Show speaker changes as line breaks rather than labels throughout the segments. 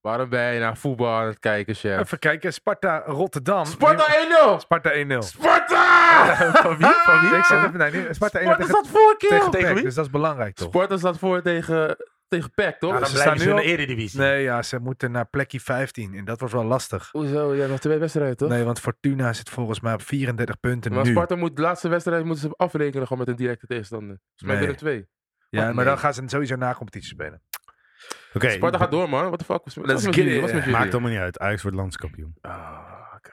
Waarom ben je naar voetbal aan het kijken, chef?
Even kijken, Sparta Rotterdam.
Sparta 1-0!
Eh, Sparta 1-0.
Sparta!
Van wie? Van wie? Oh.
Ik zet even, nee, nee, Sparta 1
Sparta
tegen,
staat voor,
tegen,
kill!
tegen
PEC,
wie?
Dus dat is belangrijk toch?
Sparta staat voor tegen, tegen PEC, toch? Dus-
Ja,
Ja, dan
ze staan
blijven ze
nu
in de
al-
eredivisie.
Nee, ja, ze moeten naar plekje 15 en dat wordt wel lastig.
Hoezo? Ja, nog twee wedstrijden, toch?
Nee, want Fortuna zit volgens mij op 34 punten
maar
nu.
Sparta moet de laatste wedstrijd moeten ze afrekenen gewoon met een directe tegenstander. Dus mij
Nee.
binnen twee.
ja,
Oh,
maar
nee.
dan gaan ze sowieso na competitie spelen.
Oké,
Sparta gaat door, man. What the fuck? Wat is wat is
let's
met
get
jullie?
it.
Wat is met jullie?
Maakt allemaal niet uit. Ajax wordt landskampioen.
Ah, oké.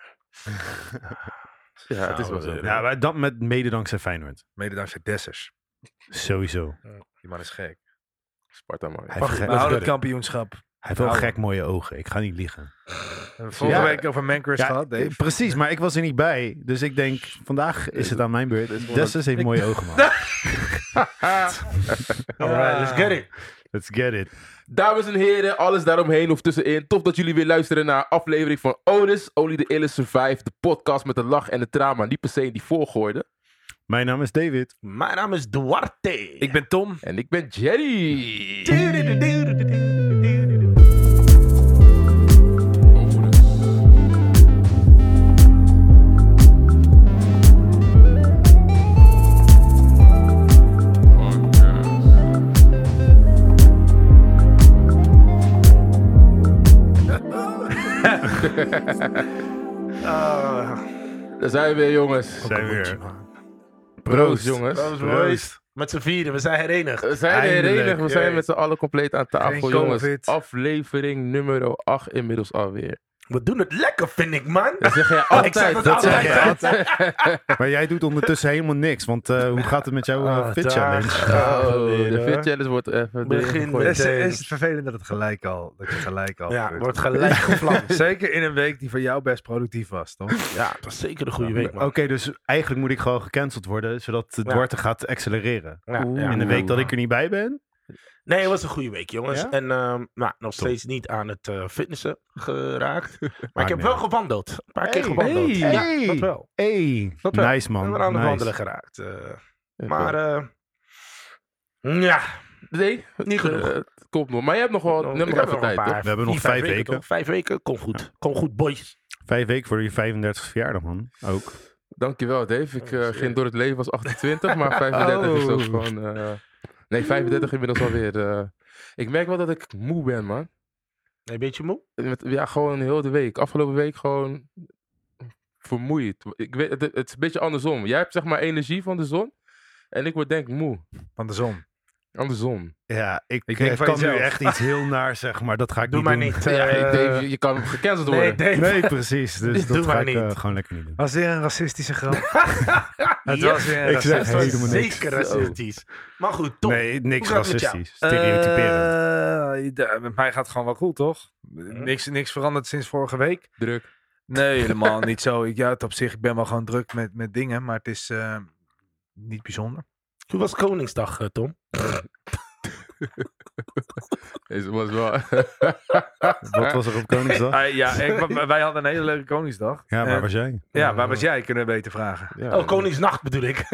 Ja, het Nou, is wel zo.
Ja, wij- dat met mede dankzij Feyenoord.
Mede dankzij Dessers.
Sowieso.
Die man is gek.
Sparta, man.
Wacht,
Hij heeft,
we
ge-
houden
hij
het kampioenschap.
heeft wel
Nou.
gek mooie ogen. Ik ga niet liegen.
Vorige
Ja.
week over Mancrest
Ja,
gehad, Dave.
Precies, maar ik was er niet bij. Dus ik denk, vandaag is het aan mijn
Dit is
beurt. Dessers heeft mooie ogen, man.
Alright, let's get
it. Let's get it.
Dames en heren, alles daaromheen of tussenin. Tof dat jullie weer luisteren naar een aflevering van Otis, Only the Illest Survive. De podcast met de lach en de traan, maar niet per se in die voorgooide.
Mijn naam is David.
Mijn naam is Duarte.
Ik ben Tom.
En ik ben Jerry. Daar zijn we weer, jongens.
Zijn we weer.
Proost, jongens.
Proost.
Met z'n vieren, we zijn herenigd.
We zijn er
Eindelijk,
enig. We zijn
jee.
met z'n allen compleet aan tafel,
Geen
jongens.
COVID.
Aflevering nummer 8 inmiddels alweer.
We doen het lekker, vind ik, man.
Dat zeg jij
Oh, ik zeg
altijd.
dat
Dat zeg
altijd.
jij altijd.
Maar jij doet ondertussen helemaal niks. Want eh, hoe gaat het met jouw eh,
Ah,
fit
daar
challenge?
gaan we
Oh,
weer,
de
hoor.
fit challenge wordt even...
Begin
erin
met-
gegooid.
Is,
meteen.
is het vervelend dat het gelijk al, dat je gelijk al
Ja,
gebeurt?
wordt gelijk gevlamd.
Zeker in een week die voor jou best productief was, toch?
Ja, dat is zeker een goede week,
Oké,
man.
dus eigenlijk moet ik gewoon gecanceld worden. Zodat de
Ja.
Duarte gaat accelereren.
Ja,
Oeh.
ja.
In de week dat ik er niet bij ben.
Nee, het was een goede week, jongens.
Ja?
En ehm, nou, nog steeds niet aan het eh, fitnessen geraakt. Maar ik heb
niet
wel
uit.
gewandeld. Een paar keer
Hey,
gewandeld.
hey,
Ja, dat wel.
Hey,
Dat wel.
nice
We
man.
hebben aan het
nice.
wandelen geraakt. eh. maar, eh, ja,
Nee,
niet genoeg.
eh, het komt nog. Maar je hebt nog wel je hebt nog even tijd, toch?
We hebben nog vijf weken.
toch? Vijf weken, kom goed. Kom goed, boys.
Vijf weken voor je 35 verjaardag man. Ook.
Dankjewel, Dave. Ik eh,
Oh, shit.
ging door het leven als 28, maar 35 is ook
Oh.
gewoon... eh, nee, 35 inmiddels alweer. eh ik merk wel dat ik moe ben, man.
Een beetje moe?
Met- ja, gewoon heel de week. Afgelopen week gewoon vermoeid. Ik weet, het, het is een beetje andersom. Jij hebt zeg maar energie van de zon. En ik word denk ik moe.
Van de zon.
Andersom.
Ja, ik,
Ik denk
eh,
van
kan
jezelf.
nu echt iets heel naar zeg maar. Dat ga ik
Doe
niet
maar
doen.
niet.
ja,
eh,
Dave, je, je kan gecanceld worden.
nee, Dave.
Nee, precies. Dus
Doe
dat ga
maar
ik eh,
niet.
gewoon lekker niet doen.
Was weer een racistische grap. Het
Ja.
was weer een
Ik
racistische-
zeg
Het was
helemaal niks.
Zeker
Zo.
racistisch. Maar goed, Tom.
Nee, niks
Hoe gaat het met
racistisch. Stereotyperend.
Eh, de- met mij gaat het gewoon wel goed, toch? Niks, niks veranderd sinds vorige week.
Druk.
Nee, helemaal niet zo. Ik, ja, het op zich, ik ben wel gewoon druk met, met dingen, maar het is eh, niet bijzonder.
Hoe was Koningsdag, eh, Tom?
Is, was wel...
Eh,
Wat was er op Koningsdag?
Ah, ja, ik- w- wij hadden een hele leuke Koningsdag.
Ja,
Eh,
waar was jij?
ja, waar was jij? Kunnen we beter vragen.
Ja,
Oh, Koningsnacht bedoel ik.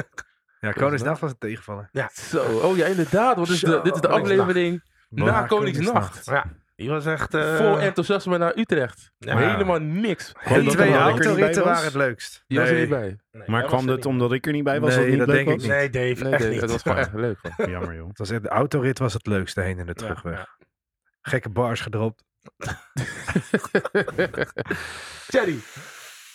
Ja, Koningsdag was het tegenvallen.
Ja.
Zo. Oh ja, inderdaad. Want dit, is de,
Zo.
dit is de
Koningsnacht.
aflevering na Koningsnacht.
Ja, die was echt... eh,
Vol enthousiasme naar Utrecht.
ja.
Maar-
Helemaal niks.
Kwam
Die
dat
twee
omdat ik er niet bij
autoritten
was?
waren het leukst.
Je was er
Nee.
niet bij.
Nee,
Maar
hij
kwam
was er
dat
niet.
omdat ik er niet bij was?
Nee,
dat het niet
dat
leuk
denk ik
was?
Nee, Dave,
Nee,
echt
Dave,
niet.
het was gewoon echt leuk. man.
Jammer joh.
Het was echt, de autorit was het leukst, de heen en de
Ja,
terugweg.
ja.
Gekke bars gedropt.
Jerry.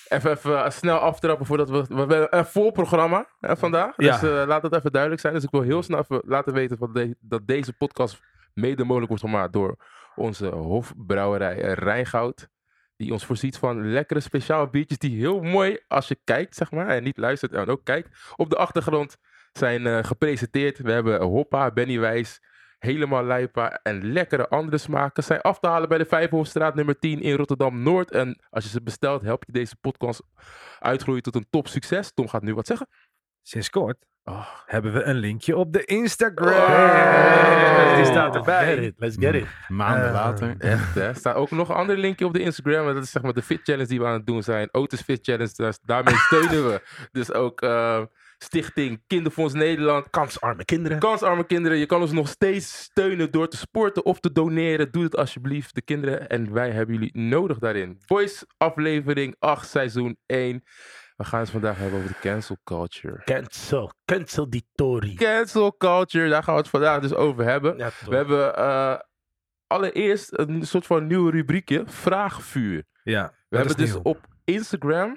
Even, even eh, snel aftrappen voordat we... We hebben een vol programma hè, vandaag.
Ja.
Dus eh, laat dat even duidelijk zijn. Dus ik wil heel snel even laten weten van de- dat deze podcast mede mogelijk wordt gemaakt door onze hofbrouwerij eh, Rijngoud. Die ons voorziet van lekkere speciaal biertjes die heel mooi, als je kijkt zeg maar, en niet luistert en ook kijkt, op de achtergrond zijn eh, gepresenteerd. We hebben Hoppa, Benny Wijs, Helemaal Lijpa en lekkere andere smaken zijn af te halen bij de Vijfhofstraat nummer 10 in Rotterdam-Noord. En als je ze bestelt, help je deze podcast uitgroeien tot een topsucces. Tom gaat nu wat zeggen.
Sinds kort
Oh,
hebben we een linkje op de Instagram.
Oh,
Hey.
Die staat
Let's get
erbij.
it, let's get it.
Maanden
Eh,
later.
Echt, hè? Er staat ook nog een ander linkje op de Instagram. En dat is zeg maar de fit challenge die we aan het doen zijn. Otis Fit Challenge. dus daarmee steunen we. Dus ook eh, Stichting Kinderfonds Nederland.
Kansarme kinderen.
Kansarme kinderen, je kan ons nog steeds steunen door te sporten of te doneren. Doe het alsjeblieft, de kinderen. En wij hebben jullie nodig daarin. Boys, aflevering 8, seizoen 1. We gaan het vandaag hebben over de cancel culture.
Cancel. Cancel die Tory.
Cancel culture, daar gaan we het vandaag dus over hebben.
Ja,
We
toch.
hebben eh, allereerst een soort van nieuw rubriekje, vraagvuur.
Ja, dat
We hebben
is
dus
nieuw.
op Instagram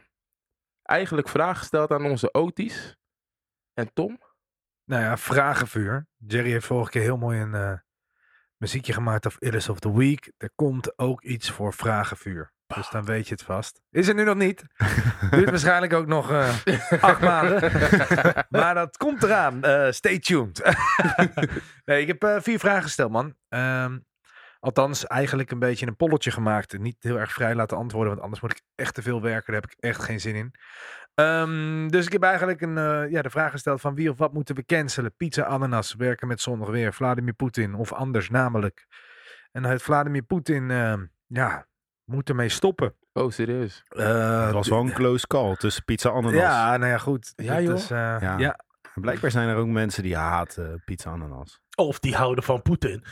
eigenlijk vragen gesteld aan onze Otis en Tom.
Nou ja, vragenvuur. Jerry heeft vorige keer heel mooi een eh, muziekje gemaakt of Illis of the Week. Er komt ook iets voor vragenvuur. Dus dan weet je het vast. Is er nu nog niet. Duurt waarschijnlijk ook nog eh, acht maanden. maar dat komt eraan. Eh, stay tuned. nee, ik heb eh, vier vragen gesteld, man. Ehm, althans, eigenlijk een beetje een polletje gemaakt. Niet heel erg vrij laten antwoorden, want anders moet ik echt te veel werken. Daar heb ik echt geen zin in. Ehm, dus ik heb eigenlijk een, eh, ja, de vraag gesteld van wie of wat moeten we cancelen? Pizza, ananas, werken met zonnig weer, Vladimir Poetin of anders namelijk. En het Vladimir Poetin, ehm, ja, moet ermee stoppen.
Oh, serieus?
Eh,
Het was wel een close call tussen pizza ananas.
Ja, nou ja, goed.
Ja,
Dit
joh.
is, eh, ja.
Ja.
Ja,
En Blijkbaar zijn er ook mensen die haten pizza ananas.
Of die houden van Poetin.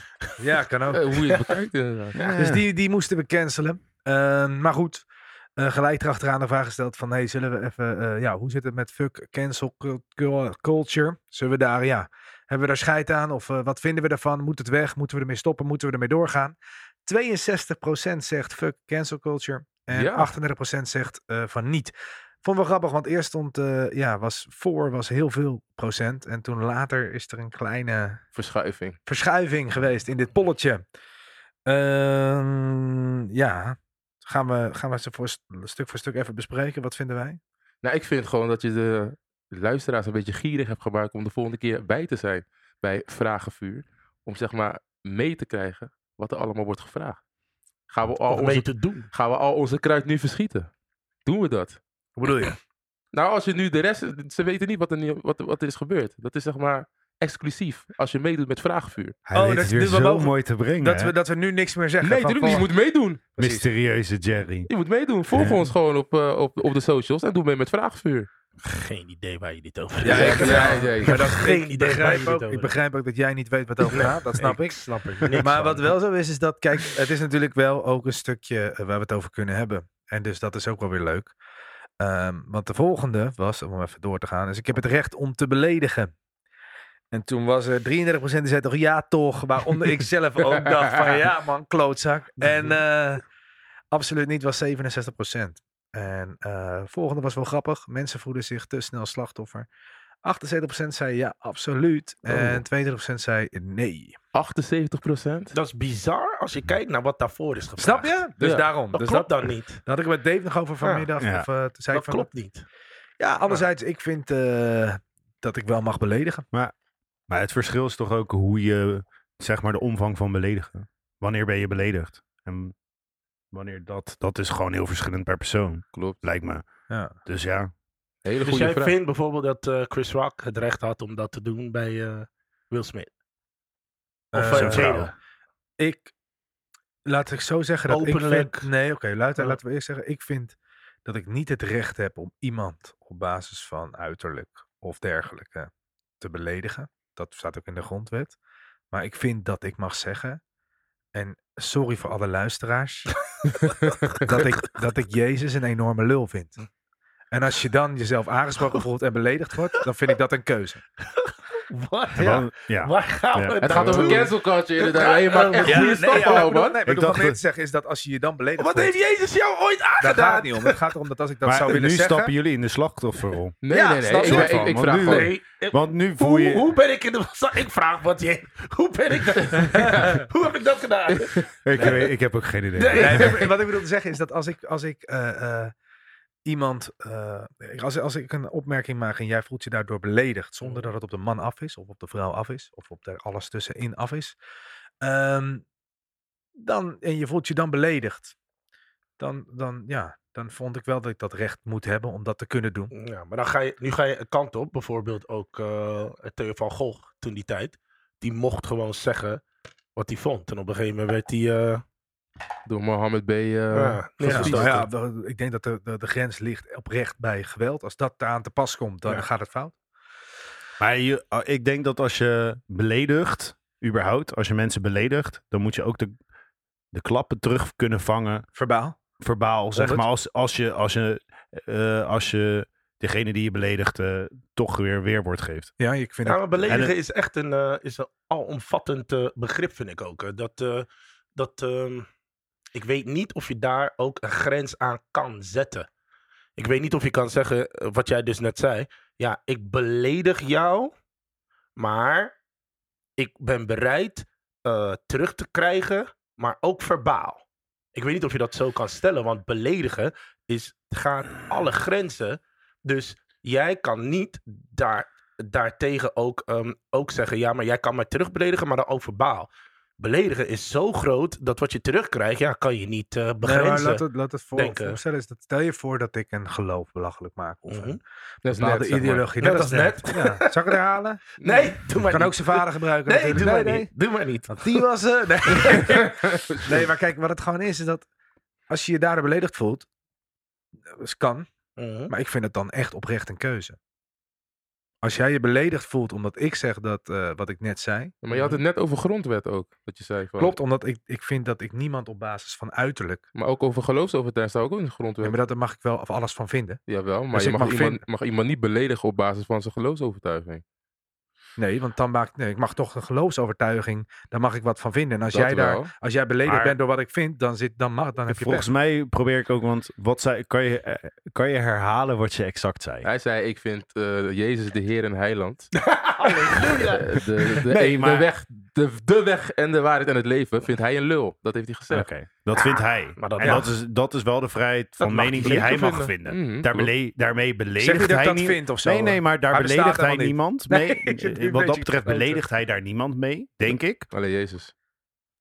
kan ook.
Eh, hoe je het bekijkt inderdaad.
Dus die, die moesten we cancelen. Eh, maar goed, eh, gelijk erachteraan de vraag gesteld van... Hey, zullen we even... eh, ja, hoe zit het met fuck cancel cul- cul- culture? Zullen we daar, ja... Hebben we daar scheid aan? Of eh, wat vinden we daarvan? Moet het weg? Moeten we ermee stoppen? Moeten we ermee doorgaan? 62% zegt fuck cancel culture. En
Ja.
38% zegt eh, van niet. Vond wel grappig, want eerst stond... eh, ja, was voor was heel veel procent. En toen later is er een kleine
Verschuiving.
verschuiving geweest in dit polletje. Ehm, ja, gaan we, gaan we ze voor, st- stuk voor stuk even bespreken. Wat vinden wij?
Nou, ik vind gewoon dat je de luisteraars een beetje gierig hebt gemaakt om de volgende keer bij te zijn bij Vragenvuur. Om zeg maar mee te krijgen wat er allemaal wordt gevraagd. Gaan we al,
Om mee
Oh, onze,
te doen.
gaan we al onze kruid nu verschieten? Doen we dat?
Hoe bedoel je?
Nou, als je nu de rest... Ze weten niet wat er, nu- wat, wat er is gebeurd. Dat is zeg maar exclusief als je meedoet met Vragenvuur.
Hij
Oh,
weet
dat
het
is
weer
dus wel
zo
mogelijk
mooi te brengen.
Dat
hè?
we, dat we nu niks meer zeggen.
Nee,
van
natuurlijk niet. Je
voor-
moet meedoen.
Precies.
Mysterieuze Jerry.
Je moet meedoen. Volg
Ja.
ons gewoon op, eh, op, op de socials en doe mee met Vragenvuur.
Geen idee waar je dit over hebt.
Ja, ik-
ja, ja, ja.
Maar dat,
Geen
ik,
idee waar
begrijp
je dit
ook,
over
ik begrijp ook dat jij niet weet wat over gaat. Dat snap ik.
Snap ik. niks
Maar
van.
wat wel zo is, is dat, kijk, het is natuurlijk wel ook een stukje eh, waar we het over kunnen hebben. En dus dat is ook wel weer leuk. Ehm, want de volgende was, om even door te gaan, is ik heb het recht om te beledigen. En toen was er 33% die zei toch ja toch, waaronder ik zelf ook dacht van ja man, klootzak. En eh, absoluut niet was 67%. En eh volgende was wel grappig, mensen voelden zich te snel slachtoffer. 78% zei ja, absoluut.
Oh.
En 22% zei nee.
78
Dat is bizar als je kijkt naar wat daarvoor is gevraagd.
Snap je? Dus
Ja.
daarom.
Dat
dus
klopt
dat,
dan niet.
daar had ik het met Dave nog over vanmiddag.
Ja.
Of, eh, toen zei
Dat
ik van,
klopt niet.
Ja, anderzijds, ik vind eh, dat ik wel mag beledigen.
Maar het verschil is toch ook hoe je, zeg maar, de omvang van beledigen. Wanneer ben je beledigd? En wanneer dat, dat is gewoon heel verschillend per persoon,
Klopt.
lijkt me.
Ja.
Dus ja,
Hele
Dus
goede
jij
vraag.
vindt bijvoorbeeld dat eh, Chris Rock het recht had om dat te doen bij eh, Will Smith? Of
Eh,
eh,
zijn vrouw.
Jada?
Ik, laat ik zo zeggen dat ik
Openlijk.
vind... Nee, oké, laten,
Ja.
laten we eerst zeggen. Ik vind dat ik niet het recht heb om iemand op basis van uiterlijk of dergelijke te beledigen. Dat staat ook in de grondwet. Maar ik vind dat ik mag zeggen... En sorry voor alle luisteraars. dat, ik, dat ik Jezus een enorme lul vind.
Hm.
En als je dan jezelf aangesproken voelt en beledigd wordt, dan vind ik dat een keuze.
Wat?
En
Ja.
dan- ja.
Waar gaan we
Ja.
Het gaat over
naartoe?
cancel culture inderdaad. Je maakt echt
Ja,
goede
nee,
stappen,
maar ik
ouwe
bedoel-
man.
nee, maar ik
Ik
bedoel, wat
dacht
ik net
dat-
zeggen is dat als je je dan beledigt
Wat heeft
voelt,
Jezus jou ooit
daar gaat het
aangedaan?
niet om. Het gaat erom dat als ik dat
maar
zou willen
nu
zeggen...
stappen jullie in de slachtofferrol.
Nee,
Ja,
nee, nee.
snap
Ik,
je?
ik, ik, ik
Want
vraag
nu-
gewoon.
Nee, ik-
Want nu voel
Hoe,
je...
hoe ben ik in de... Ik vraag wat je... Hoe ben ik dat... hoe heb ik dat gedaan?
Ik, weet- ik heb ook geen idee.
Nee,
Nee.
maar wat ik bedoel te zeggen is dat als ik, als ik eh, eh, iemand, eh, als, als ik een opmerking maak en jij voelt je daardoor beledigd, zonder dat het op de man af is, of op de vrouw af is, of op de alles tussenin af is, ehm, dan, en je voelt je dan beledigd, dan, dan, ja, dan vond ik wel dat ik dat recht moet hebben om dat te kunnen doen.
Ja, maar dan ga je, nu ga je een kant op. Bijvoorbeeld ook eh Theo van Gogh toen die tijd. Die mocht gewoon zeggen wat hij vond. En op een gegeven moment werd hij... eh,
Door Mohammed B. eh,
ja,
Ja,
precies.
nou ja, de- ik denk dat de, de, de grens ligt oprecht bij geweld. Als dat daar aan te pas komt, dan
Ja.
gaat het fout.
Maar je, ah, ik denk dat als je beledigt, überhaupt, als je mensen beledigt, dan moet je ook de, de klappen terug kunnen vangen,
Verbaal.
verbaal. Zeg
Honderd.
maar als, als, je, als, je, eh, als je degene die je beledigt eh, toch weer weerwoord geeft.
Ja, ik vind
Ja,
het.
maar beledigen
En het-
is echt een, eh, is een alomvattend eh, begrip, vind ik ook. eh. Dat, eh, dat, ehm, ik weet niet of je daar ook een grens aan kan zetten. Ik weet niet of je kan zeggen, eh, wat jij dus net zei. Ja, ik beledig jou, maar ik ben bereid eh, terug te krijgen, maar ook verbaal. Ik weet niet of je dat zo kan stellen, want beledigen is, gaat alle grenzen. Dus jij kan niet daar daartegen ook, ehm, ook zeggen: ja, maar jij kan mij terug beledigen, maar dan ook verbaal. Beledigen is zo groot dat wat je terugkrijgt, ja, kan je niet eh,
Nee, maar
begrenzen.
laat het, laat het voor,
denken.
voorstellen. Is dat, stel je voor dat ik een geloof belachelijk maak. Of
Mhm.
een
Dat is
bepaalde
net, zeg maar.
ideologie.
Net
Dat
als
is Ja. Zal ik het herhalen?
Nee, doe maar
kan
niet.
ook zijn vader gebruiken.
Nee, doe
natuurlijk.
maar niet. eh, Doe maar niet.
Want die was er. Nee. nee, maar kijk, wat het gewoon is, is dat als je je daardoor beledigd voelt, dat kan,
Mhm.
maar ik vind het dan echt oprecht een keuze. Als jij je beledigd voelt omdat ik zeg dat eh, wat ik net zei, Mhm.
Ja, Maar je had het net over grondwet ook. Dat je zei van,
klopt, omdat ik, ik vind dat ik niemand op basis van uiterlijk,
Maar ook over geloofsovertuiging staat ook in de grondwet.
ja, maar dat, daar mag ik wel alles van vinden.
Jawel, maar
Dus
je
ik
mag,
mag
iemand,
vinden-
mag iemand niet beledigen op basis van zijn geloofsovertuiging.
Nee, want dan maak ik, nee, ik mag toch een geloofsovertuiging, daar mag ik wat van vinden. En als,
Dat
jij,
wel.
daar, als jij beledigd
Maar-
bent door wat ik vind, dan, zit, dan, mag, dan heb je
Volgens
pech.
mij probeer ik ook, want wat zei, kan, je, eh, kan je herhalen wat je exact zei?
Hij zei, ik vind eh, Jezus de Heer en Heiland. Eh,
Halleluja.
De, de, de,
Nee,
de
maar-
weg, de, de weg en de waarheid en het leven vindt hij een lul. Dat heeft hij
eh,
Oké,
gezegd.
dat vindt hij.
maar
Ah,
dat
en
mag.
dat, is, dat is wel de vrijheid van
mag
mening
hij
die hij
zeker
mag
vinden.
vinden.
Mhm,
nou, Daar
klopt.
bele- daarmee beledigt
Mm, Zeg je dat
hij
ik dat
niet-
vind of zo?
nee, nee, maar daar
Hij bestaat
beledigt hij
helemaal niet.
niemand
Nee,
mee.
ik zit nu een
wat dat
beetje
betreft
kloten.
beledigt hij daar niemand mee, denk ik.
Alleen Jezus.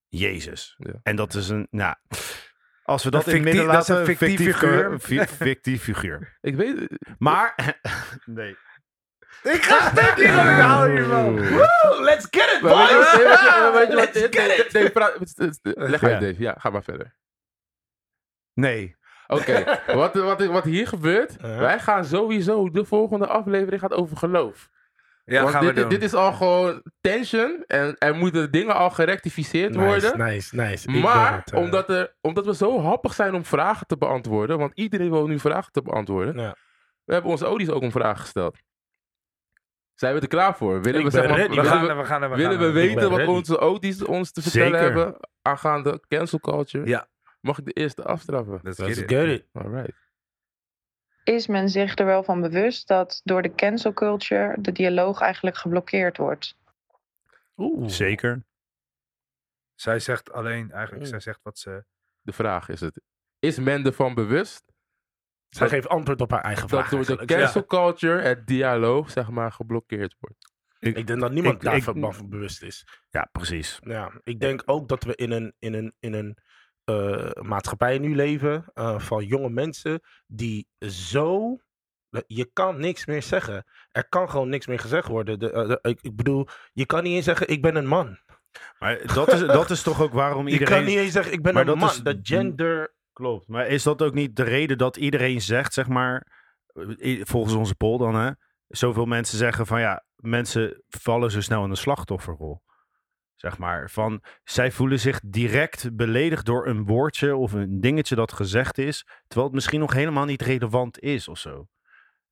Jezus.
Ja.
En dat is een, nou, als we dat,
Een
in
fictief-
het midden
dat is
laten,
een fictief figuur.
fi- fictief figuur.
Ik weet...
Maar, nee.
Ik ga het echt niet van herhalen hiervan.
Woe, Let's get it,
Maar weet
boys!
je- weet je- weet je wat-
Let's
nee,
get
nee,
it!
nee, praat- Leg
Ja.
uit, Dave. Ja, ga maar verder.
Nee.
Oké, wat, wat, wat hier gebeurt,
Ja.
wij gaan sowieso, de volgende aflevering gaat over geloof.
Ja,
Want
gaan we
dit,
doen.
dit is al gewoon tension en er moeten dingen al gerectificeerd worden.
nice, nice. Ik ben
Maar
het, eh,
omdat, er, omdat we zo happig zijn om vragen te beantwoorden, want iedereen wil nu vragen te beantwoorden.
Ja.
We hebben onze Odis ook om vragen gesteld. Zijn we er klaar voor? Willen
Ik
we,
ben
zeg maar-
ready.
we
willen
gaan,
we,
er- we gaan, er- we
willen
gaan
we
er-
ben
weten wat
ready.
onze Odis ons te vertellen
Zeker.
hebben aangaande cancel culture?
Ja.
Mag ik de eerste afstraffen?
Let's
Let's
get it.
get it.
Alright.
is men zich er wel van bewust dat door de cancel culture de dialoog eigenlijk geblokkeerd wordt.
Oeh.
Zeker.
Zij zegt alleen, eigenlijk,
Mm.
Hmm.
zij zegt wat ze...
De vraag is het. Is men ervan bewust
Zij geeft antwoord op haar eigen vraag.
dat door de
eigenlijk. Ja.
cancel culture het dialoog zeg maar geblokkeerd wordt?
Ik denk dat niemand
Ik-
daar
ik-
van van bewust is. Nou
Ja, precies.
Ja, ik denk ook dat we in een, in een, in een eh, maatschappij nu leven eh, van jonge mensen die zo. Je kan niks meer zeggen. Er kan gewoon niks meer gezegd worden. De, eh, de- ik, ik bedoel, je kan niet eens zeggen: Ik ben een man.
Maar dat is, dat is toch ook waarom
Je
iedereen...
kan niet eens zeggen: Ik ben
Maar
een
dat
man.
is-
Dat gender.
Klopt. Maar is dat ook niet de reden dat iedereen zegt, zeg maar, eh, volgens onze poll dan, hè? Zoveel mensen zeggen van ja, mensen vallen zo snel in de slachtofferrol. Zeg maar, van zij voelen zich direct beledigd door een woordje of een dingetje dat gezegd is, terwijl het misschien nog helemaal niet relevant is of zo.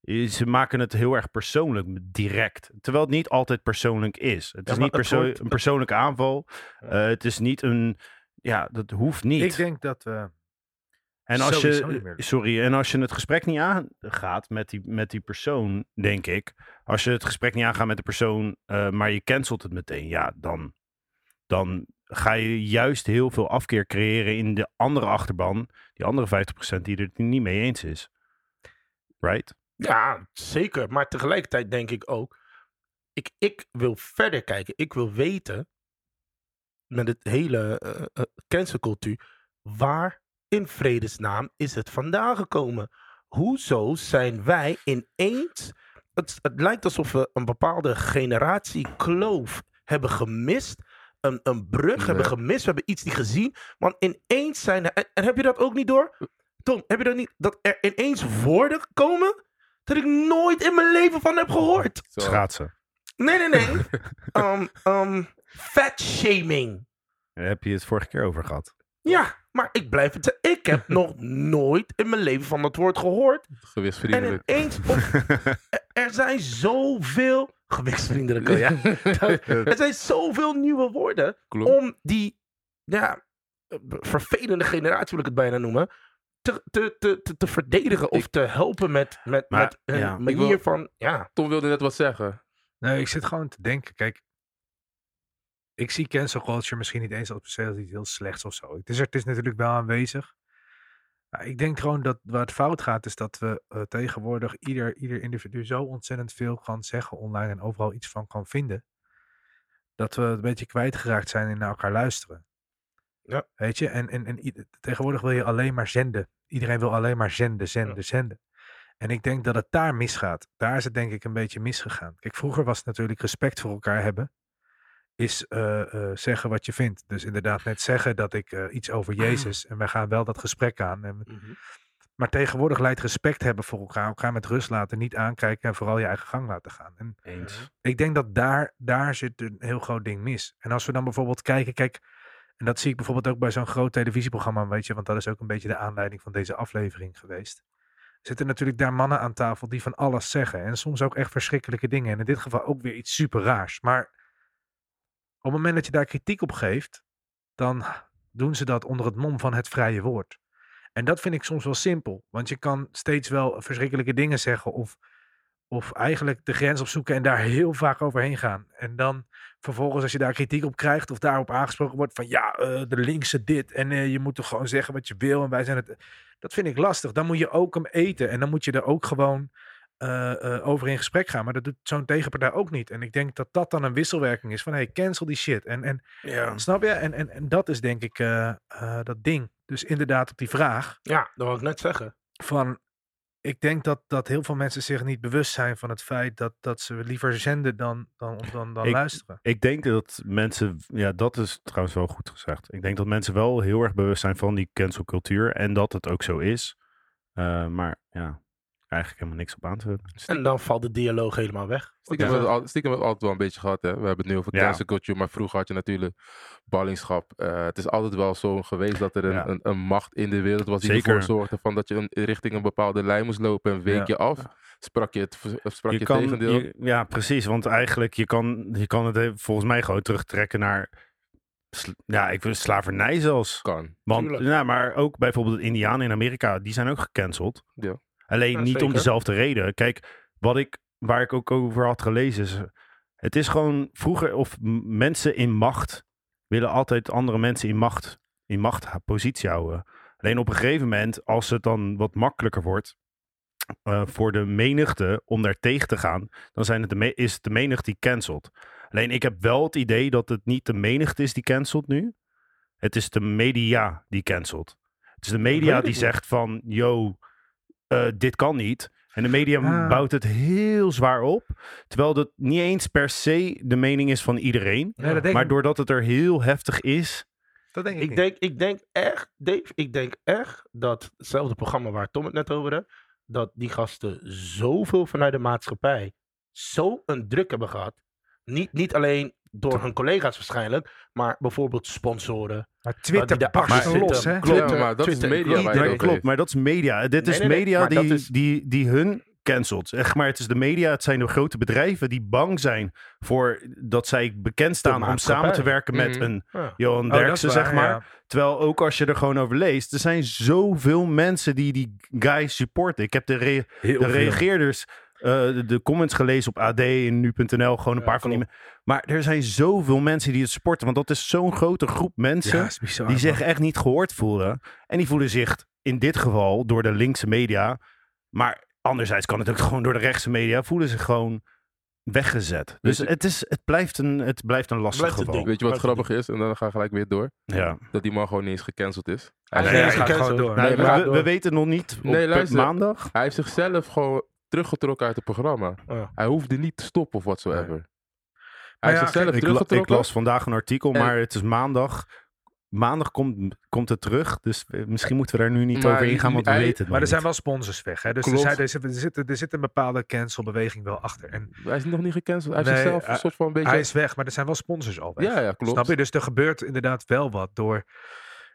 Eh, Ze maken het heel erg persoonlijk, direct. Terwijl het niet altijd persoonlijk is. Het
Ja,
is
maar
niet
het
perso-
wordt-
een persoonlijke aanval. Eh, het is niet een. Ja, dat hoeft niet.
Ik denk dat we...
En als
Sowieso niet
je,
meer.
sorry, en als je het gesprek niet aangaat met die, met die persoon, denk ik. Als je het gesprek niet aangaat met de persoon, eh, maar je cancelt het meteen. Ja, dan, dan ga je juist heel veel afkeer creëren in de andere achterban. Die andere 50% die er niet mee eens is. Right?
Ja, zeker. Maar tegelijkertijd denk ik ook: Ik, ik wil verder kijken. Ik wil weten. Met het hele eh, eh, cancelcultuur. Waar in vredesnaam is het vandaan gekomen? hoezo zijn wij ineens. Het, het lijkt alsof we een bepaalde generatie kloof hebben gemist. Een, een brug
Ja.
hebben gemist. We hebben iets niet gezien. Want ineens zijn er. En, en heb je dat ook niet door? Tom, heb je dat niet? Dat er ineens woorden komen. Dat ik nooit in mijn leven van heb gehoord.
Zo.
Schaatsen.
Nee, nee, nee. Ehm ehm fat shaming.
Daar heb je het vorige keer over gehad.
Ja, maar ik blijf het zeggen. Ik heb nog nooit in mijn leven van dat woord gehoord. En
Gewisvriendelijk.
ineens, op- er zijn zoveel... Gewichtsvriendelijk, Oh ja. Er zijn zoveel nieuwe woorden
Klopt.
om die ja, eh, vervelende generatie, wil ik het bijna noemen, te, te, te, te, te verdedigen of te helpen met, met,
Maar,
met een
ja.
manier
Ik wil-
van... Ja,
Tom wilde net wat zeggen.
Nee, ik zit gewoon te denken. Kijk, ik zie cancel culture misschien niet eens als per se als iets heel slechts of zo. Het is, er, het is natuurlijk wel aanwezig. Maar ik denk gewoon dat waar het fout gaat, is dat we eh, tegenwoordig ieder, ieder individu zo ontzettend veel kan zeggen online en overal iets van kan vinden. Dat we een beetje kwijtgeraakt zijn in naar elkaar luisteren.
Ja.
Weet je, en, en, en ieder- tegenwoordig wil je alleen maar zenden. Iedereen wil alleen maar zenden, zenden, zenden. En ik denk dat het daar misgaat. Daar is het denk ik een beetje misgegaan. Kijk, vroeger was het natuurlijk respect voor elkaar hebben. Is eh, eh, zeggen wat je vindt. Dus inderdaad net zeggen dat ik eh, iets over Jezus. En wij gaan wel dat gesprek aan. En, maar tegenwoordig leidt respect hebben voor elkaar. Elkaar met rust laten, niet aankijken. En vooral je eigen gang laten gaan. En
Eens.
ik denk dat daar, daar zit een heel groot ding mis. En als we dan bijvoorbeeld kijken, kijk, en dat zie ik bijvoorbeeld ook bij zo'n groot televisieprogramma, weet je, want dat is ook een beetje de aanleiding van deze aflevering geweest. Zitten natuurlijk daar mannen aan tafel die van alles zeggen. En soms ook echt verschrikkelijke dingen. En in dit geval ook weer iets super raars. Maar op het moment dat je daar kritiek op geeft, dan doen ze dat onder het mom van het vrije woord. En dat vind ik soms wel simpel. Want je kan steeds wel verschrikkelijke dingen zeggen of of eigenlijk de grens opzoeken en daar heel vaak overheen gaan. En dan vervolgens als je daar kritiek op krijgt of daarop aangesproken wordt van ja, eh, de linkse dit en eh, je moet toch gewoon zeggen wat je wil en wij zijn het. Dat vind ik lastig. Dan moet je ook hem eten en dan moet je er ook gewoon eh, eh, over in gesprek gaan. Maar dat doet zo'n tegenpartij ook niet. En ik denk dat dat dan een wisselwerking is van hey, cancel die shit. En, en
ja.
snap je? En, en, en dat is denk ik eh, eh, dat ding. Dus inderdaad op die vraag
ja, dat wou ik net zeggen.
van. Ik denk dat, dat heel veel mensen zich niet bewust zijn van het feit dat, dat ze liever zenden dan, dan, dan, dan
Ik-
luisteren.
Ik denk dat mensen, ja, dat is trouwens wel goed gezegd. Ik denk dat mensen wel heel erg bewust zijn van die cancelcultuur en dat het ook zo is. Eh, maar ja, eigenlijk helemaal niks op aan te hebben.
En dan valt de dialoog helemaal weg.
Stiekem
Ja.
hebben we het al- stiekem hebben we het altijd wel een beetje gehad. Hè? We hebben het nu over
Ja.
cancel culture, maar vroeger had je natuurlijk ballingschap. Eh, het is altijd wel zo geweest dat er een,
Ja.
een, een macht in de wereld was die
Zeker.
ervoor zorgde van dat je een, richting een bepaalde lijn moest lopen en week
Ja.
je af. Sprak je het, v- of sprak je, het tegendeel.
je- ja, precies. Want eigenlijk, je kan, je kan het he- volgens mij gewoon terugtrekken naar, sl- ja, ik wil slavernij zelfs.
Kan.
Want,
Tuurlijk.
ja, maar ook bijvoorbeeld de Indianen in Amerika, die zijn ook gecanceld.
Ja.
Alleen
Ja,
niet om
zeker.
dezelfde reden. Kijk, wat ik, waar ik ook over had gelezen is... Het is gewoon vroeger, of m- mensen in macht willen altijd andere mensen in macht, in macht ha- positie houden. Alleen op een gegeven moment, als het dan wat makkelijker wordt eh, voor de menigte om daar tegen te gaan, dan zijn het de me- is het de menigte die cancelt. Alleen ik heb wel het idee dat het niet de menigte is die cancelt nu. Het is de media die cancelt. Het is de
weet
media
het
die
niet.
zegt van, yo, eh, dit kan niet. En de media
Ah.
bouwt het heel zwaar op. Terwijl dat niet eens per se de mening is van iedereen.
Nee, dat denk,
Maar
ik,
doordat het er heel heftig is.
dat denk ik,
Ik
niet.
denk, ik denk echt, Dave, ik denk echt dat hetzelfde programma waar Tom het net over had, dat die gasten zoveel vanuit de maatschappij zo'n druk hebben gehad. Niet, niet alleen door hun collega's waarschijnlijk, maar bijvoorbeeld sponsoren.
maar
die
Twitter
daar
barst
achter
los,
zitten.
hè?
Klopt.
Ja, maar dat is
Twitter,
media waar
Nee,
je
Twitter,
het
klopt,
over
maar dat is media. Dit
Nee,
is
nee, nee,
media
maar dat
die,
is-
Die, die hun cancelt. Echt maar, het is de media. Het zijn de grote bedrijven die bang zijn voor dat zij bekend staan om
maatschappij.
samen te werken met
Mhm.
een
Ja.
Johan
Oh, dat is
Derksen,
waar,
zeg maar.
ja.
Terwijl ook als je er gewoon over leest, er zijn zoveel mensen die die guy supporten. Ik heb de, re- de reageerders, eh, de, de comments gelezen op AD en nu.nl, gewoon een
Ja,
paar van die. me- Maar er zijn zoveel mensen die het supporten, want dat is zo'n grote groep mensen
Ja, is bizar,
die
man.
zich echt niet gehoord voelen. En die voelen zich in dit geval door de linkse media, maar anderzijds kan het ook gewoon door de rechtse media, voelen ze gewoon weggezet. Dus
je-
het, is, het, blijft een, het blijft een lastig
Blijft een
geval.
ding.
Weet je wat
Maar dat-
grappig is? En dan ga ik gelijk weer door.
Ja.
Dat die man gewoon niet eens gecanceld is. Hij,
Hij
Nee, hij
Nee, hij
gaat
kent
gewoon
ze.
door.
Nee,
Nee,
maar
maar-
we, we weten nog niet op
Nee, luister.
maandag.
hij heeft zichzelf gewoon teruggetrokken uit het programma.
Ja.
Hij hoefde niet te stoppen of whatsoever. Hij
Maar
heeft
ja,
zichzelf
Ik, la- ik
teruggetrokken.
las vandaag een artikel,
En-
maar het is maandag. maandag komt, komt het terug. Dus eh, misschien moeten we daar nu niet
Maar
over ingaan, want we
hij-
weten het
Maar er
nog
zijn
niet.
wel sponsors weg. Hè? Dus er,
Klopt.
zijn, er, zit, er, zit, er zit een bepaalde cancelbeweging wel achter. En
Hij is nog niet gecanceld. Hij heeft
Nee,
zichzelf
hij-
een soort van een beetje...
hij is weg, maar er zijn wel sponsors al weg.
ja, ja, klopt.
Snap je? Dus er gebeurt inderdaad wel wat door.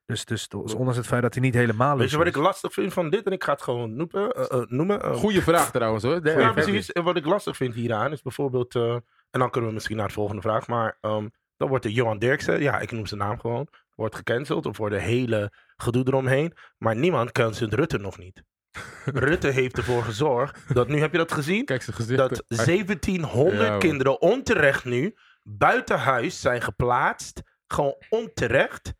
Dus, dus, dus ondanks het feit dat hij niet helemaal
Weet je
los
wat
is.
ik lastig vind van dit? En ik ga het gewoon noemen. eh, eh, noemen eh,
Goeie vraag trouwens hoor. Damn,
ja,
heb
precies.
je.
En wat ik lastig vind hieraan is bijvoorbeeld... eh, en dan kunnen we misschien naar de volgende vraag. Maar ehm, dan wordt de Johan Derksen, ja, ik noem zijn naam gewoon... wordt gecanceld of wordt de hele gedoe eromheen. Maar niemand cancelt Rutte nog niet. Rutte heeft ervoor gezorgd dat... Nu heb je dat gezien?
Kijk zijn gezicht.
Dat
Hij-
1700
Ja, hoor.
kinderen onterecht nu buiten huis zijn geplaatst. Gewoon onterecht.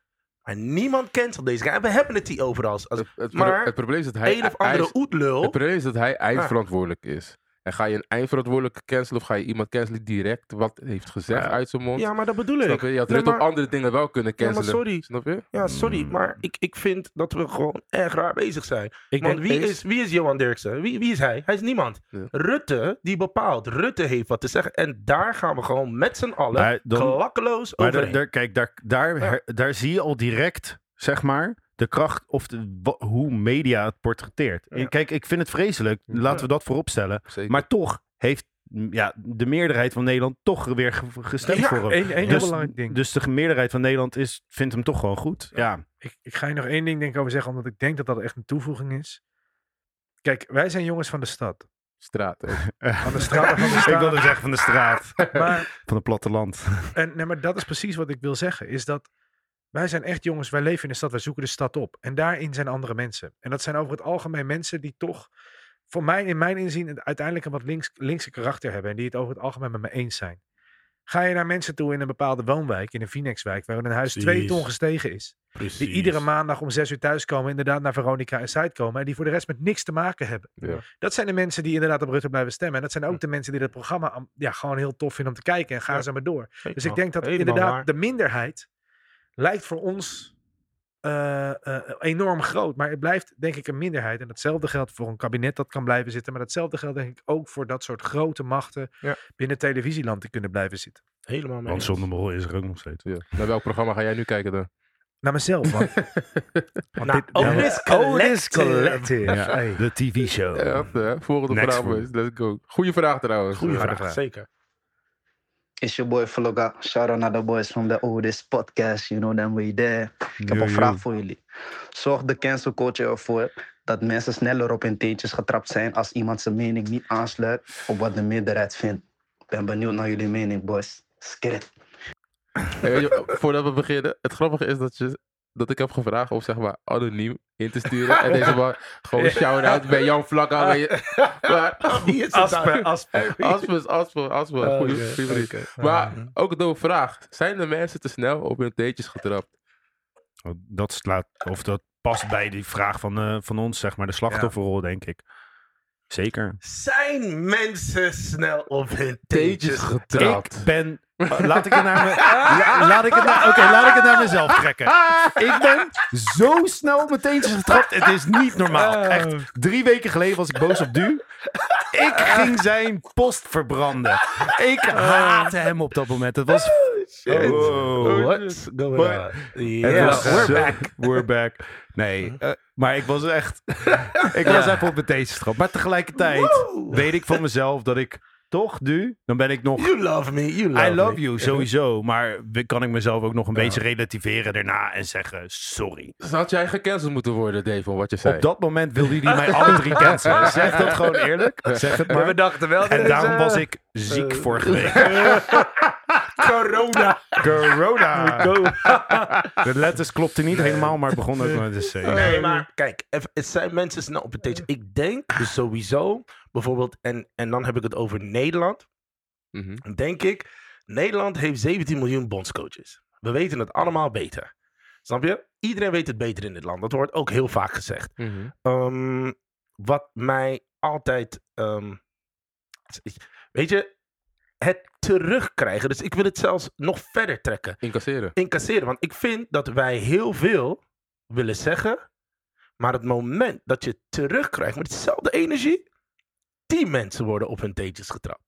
Maar niemand cancelt deze guy. En we hebben het hier overal. Als
het, het,
maar
het probleem is dat hij...
een of
hij
andere Ah.
is-
oetlul.
Het probleem is dat hij eindverantwoordelijk is. En ga je een eindverantwoordelijke cancelen of ga je iemand cancelen die direct wat heeft gezegd
Ja.
uit zijn mond?
Ah. Ja, maar dat bedoel
Snap
ik.
je? Je had
Nee,
Rutte op
maar-
andere dingen wel kunnen
Ja, maar
cancelen.
sorry.
Snap je?
Ja, sorry, maar ik, ik vind dat we gewoon erg raar bezig zijn.
Ik
Want
denk
wie
eens-
is, wie is Johan Derksen? Wie, wie is hij? Hij is niemand.
Ja.
Rutte, die bepaalt. Rutte heeft wat te zeggen. En daar gaan we gewoon met z'n allen
Maar dan-
klakkeloos
Maar
overheen.
daar- daar- kijk, daar, daar, her- daar zie je al direct, zeg maar, de kracht of de, wa- hoe media het portretteert. En
Ja.
Kijk, ik vind het vreselijk. Laten we dat vooropstellen.
Zeker.
Maar toch heeft mm, ja, de meerderheid van Nederland toch weer ge- gestemd
Ja,
voor hem.
Eén, één heel
Dus-
belangrijk ding.
Dus de meerderheid van Nederland is, vindt hem toch gewoon goed. Ja,
ik, ik ga je nog één ding denk ik over zeggen, omdat ik denk dat dat echt een toevoeging is. Kijk, wij zijn jongens van de stad.
Straat. ook.
Van de straten van de
ik wilde
stad.
zeggen van de straat,
Maar,
van het platteland.
en, nee, maar dat is precies wat ik wil zeggen. Is dat wij zijn echt jongens, wij leven in de stad, wij zoeken de stad op. En daarin zijn andere mensen. En dat zijn over het algemeen mensen die toch, voor mij in mijn inzien, het uiteindelijk een wat links, linkse karakter hebben. En die het over het algemeen met me eens zijn. Ga je naar mensen toe in een bepaalde woonwijk, in een Phoenixwijk, waar een huis twee
Precies.
ton gestegen is.
Precies.
Die iedere maandag om zes uur thuiskomen, inderdaad naar Veronica en Zuid komen. En die voor de rest met niks te maken hebben.
Ja.
Dat zijn de mensen die inderdaad op Rutte blijven stemmen. En dat zijn ook de mensen die dat programma am- ja, gewoon heel tof vinden om te kijken. En gaan
Ja.
zo maar door.
Helemaal-
Dus ik denk dat
helemaal
inderdaad
waar.
de minderheid lijkt voor ons eh, eh, enorm groot. Maar het blijft denk ik een minderheid. En datzelfde geldt voor een kabinet dat kan blijven zitten. Maar datzelfde geldt denk ik ook voor dat soort grote machten
Ja.
binnen televisieland die kunnen blijven zitten.
Helemaal mee
Want
eens.
zonder Mol is er ook nog steeds.
Ja. Naar welk programma ga jij nu kijken dan?
Naar mezelf, man. Want
Nou,
dit-
Otis
Ja, Oh, Otis
Collective.
Collective.
Ja,
Hey.
de tv-show.
Ja, eh, volgende
Next
vraag.
one.
boys. Let's go. Goeie vraag trouwens.
Goeie
Ja.
vraag,
vraag.
zeker.
It's your boy Vlogger. Shout out naar de boys from the oldest podcast. You know them way there. Ik heb een vraag voor jullie. Zorgt de cancel culture ervoor dat mensen sneller op hun teentjes getrapt zijn als iemand zijn mening niet aansluit op wat de meerderheid vindt? Ik ben benieuwd naar jullie mening, boys. Skrit.
Hey, weet je, voordat we beginnen, het grappige is dat, je, dat ik heb gevraagd om zeg maar anoniem in te sturen. en deze man gewoon shout-out bij Jan Vlakka. bij je- Maar-
Wie is het
Asper,
daar?
Asper.
Asper, Asper, Asper.
Oh,
Goeie,
oké,
goeie vriend.
oké.
Maar ook een dope vraag. Zijn de mensen te snel op hun teentjes getrapt?
Want Oh, Dat, slaat, of dat past bij die vraag van, eh, van ons, zeg maar, de slachtofferrol, denk ik. Zeker.
Zijn mensen snel op hun
Teentjes
teentjes?
getrapt.
Ik ben. oh, Laat ik het naar, me, la- laat ik het naar, oké, laat ik het naar mezelf trekken. Ik ben zo snel op mijn teentjes getrapt. Het is niet normaal. Echt, drie weken geleden was ik boos op Du. Ik ging zijn post verbranden. Ik haatte hem op dat moment. Het was.
Shit. Oh,
Wow, what?
What's going
What?
on?
Oh, Het
Yeah.
was zo- We're back. Nee, eh, maar ik was echt. ik was even op mijn teentjes getrapt. Maar tegelijkertijd
Wow.
weet ik van mezelf dat ik toch nu. Dan ben ik nog
You love me, you love
I love
me.
you, sowieso. Maar we- kan ik mezelf ook nog een beetje relativeren daarna en zeggen sorry.
Dus had jij gecanceld moeten worden, Dave, om wat je zei?
Op dat moment wilde hij mij alle drie cancelen. Zeg dat gewoon eerlijk. Zeg het maar.
dachten wel.
En daarom was ik ziek
eh,
vorige week.
Corona.
Corona. De letters klopten niet helemaal, maar het begon ook eh, met een C.
Nee, maar kijk, even, het zijn mensen snel op het teentje. Ik denk dus sowieso, bijvoorbeeld, en, en dan heb ik het over Nederland.
Mhm.
Denk ik, Nederland heeft 17 miljoen bondscoaches. We weten het allemaal beter. Snap je? Iedereen weet het beter in dit land. Dat wordt ook heel vaak gezegd.
Mhm.
Ehm, wat mij altijd. ehm, weet je, het terugkrijgen. Dus ik wil het zelfs nog verder trekken
Incasseren.
incasseren. Want ik vind dat wij heel veel willen zeggen. Maar het moment dat je het terugkrijgt met dezelfde energie. Die mensen worden op hun teentjes getrapt.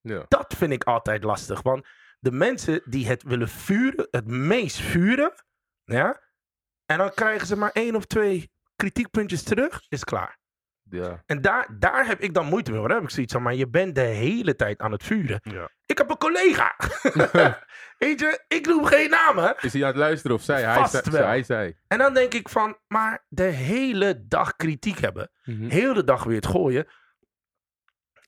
Ja.
Dat vind ik altijd lastig. Want de mensen die het willen vuren, het meest vuren. Ja? En dan krijgen ze maar één of twee kritiekpuntjes terug, is klaar.
Ja.
En daar, daar heb ik dan moeite mee. hoor. Daar heb ik zoiets van, maar je bent de hele tijd aan het vuren.
Ja.
Ik heb een collega. Weet je, ik noem geen namen.
Is hij aan het luisteren of zij? Hij
Vast
zei.
wel.
Hij zei.
En dan denk ik van, maar de hele dag kritiek hebben.
Mhm.
Heel de dag weer het gooien.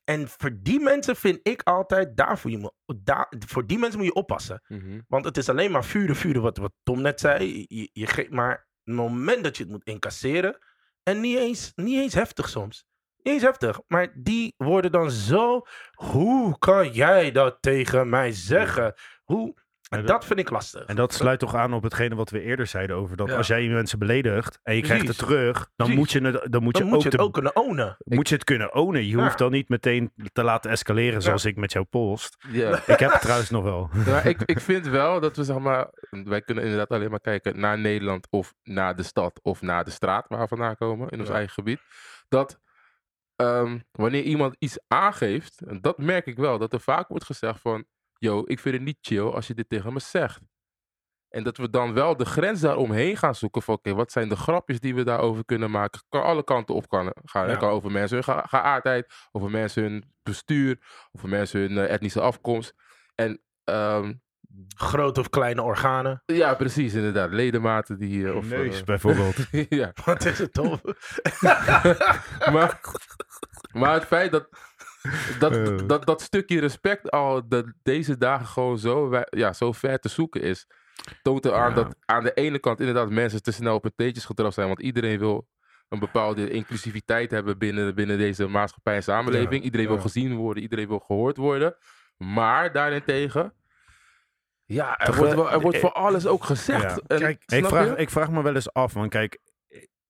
En voor die mensen vind ik altijd, daarvoor je me, daar, voor die mensen moet je oppassen.
Mhm.
Want het is alleen maar vuren, vuren, wat, wat Tom net zei. Je, je geeft maar het moment dat je het moet incasseren. En niet eens, niet eens heftig soms. Niet eens heftig. Maar die worden dan zo. Hoe kan jij dat tegen mij zeggen? Hoe?
Ja,
En
dat-
dat vind ik lastig.
En dat sluit toch aan op hetgene wat we eerder zeiden over dat
Ja.
als jij mensen beledigt en je krijgt het
Precies.
terug, dan
Precies.
moet je het, dan moet
Dan
je,
moet
ook,
je het
de-
ook kunnen ownen.
moet je het kunnen ownen. Je
Ja.
hoeft dan niet meteen te laten escaleren zoals ik met jou post.
Ja.
Ik heb het trouwens nog wel.
Ja, ik, ik vind wel dat we zeg maar, wij kunnen inderdaad alleen maar kijken naar Nederland of naar de stad of naar de straat waar we vandaan komen in ons eigen gebied. Dat ehm, wanneer iemand iets aangeeft, en dat merk ik wel, dat er vaak wordt gezegd van, yo, ik vind het niet chill als je dit tegen me zegt. En dat we dan wel de grens daaromheen gaan zoeken van, oké, wat zijn de grapjes die we daarover kunnen maken? Kan alle kanten op kan gaan.
Ja.
Het kan over mensen hun ge- geaardheid, over mensen hun bestuur, over mensen hun eh, etnische afkomst. En ehm,
Grote of kleine organen.
ja, precies, inderdaad. Ledematen die. eh, of,
Neus bijvoorbeeld.
eh, ja.
Wat is het toch?
maar, maar het feit dat
Eh.
dat, dat, dat stukje respect al dat deze dagen gewoon zo, wij- ja, zo ver te zoeken is, toont eraan
Ja.
dat aan de ene kant inderdaad mensen te snel op hun teentjes getrapt zijn, want iedereen wil een bepaalde inclusiviteit hebben binnen, binnen deze maatschappij en samenleving. iedereen wil gezien worden, iedereen wil gehoord worden. Maar daarentegen, ja, er
Toch,
wordt,
eh,
wel, er wordt
eh,
voor alles ook gezegd.
ja.
En,
Kijk,
snap
Ik vraag,
je?
ik vraag me wel eens af, want kijk,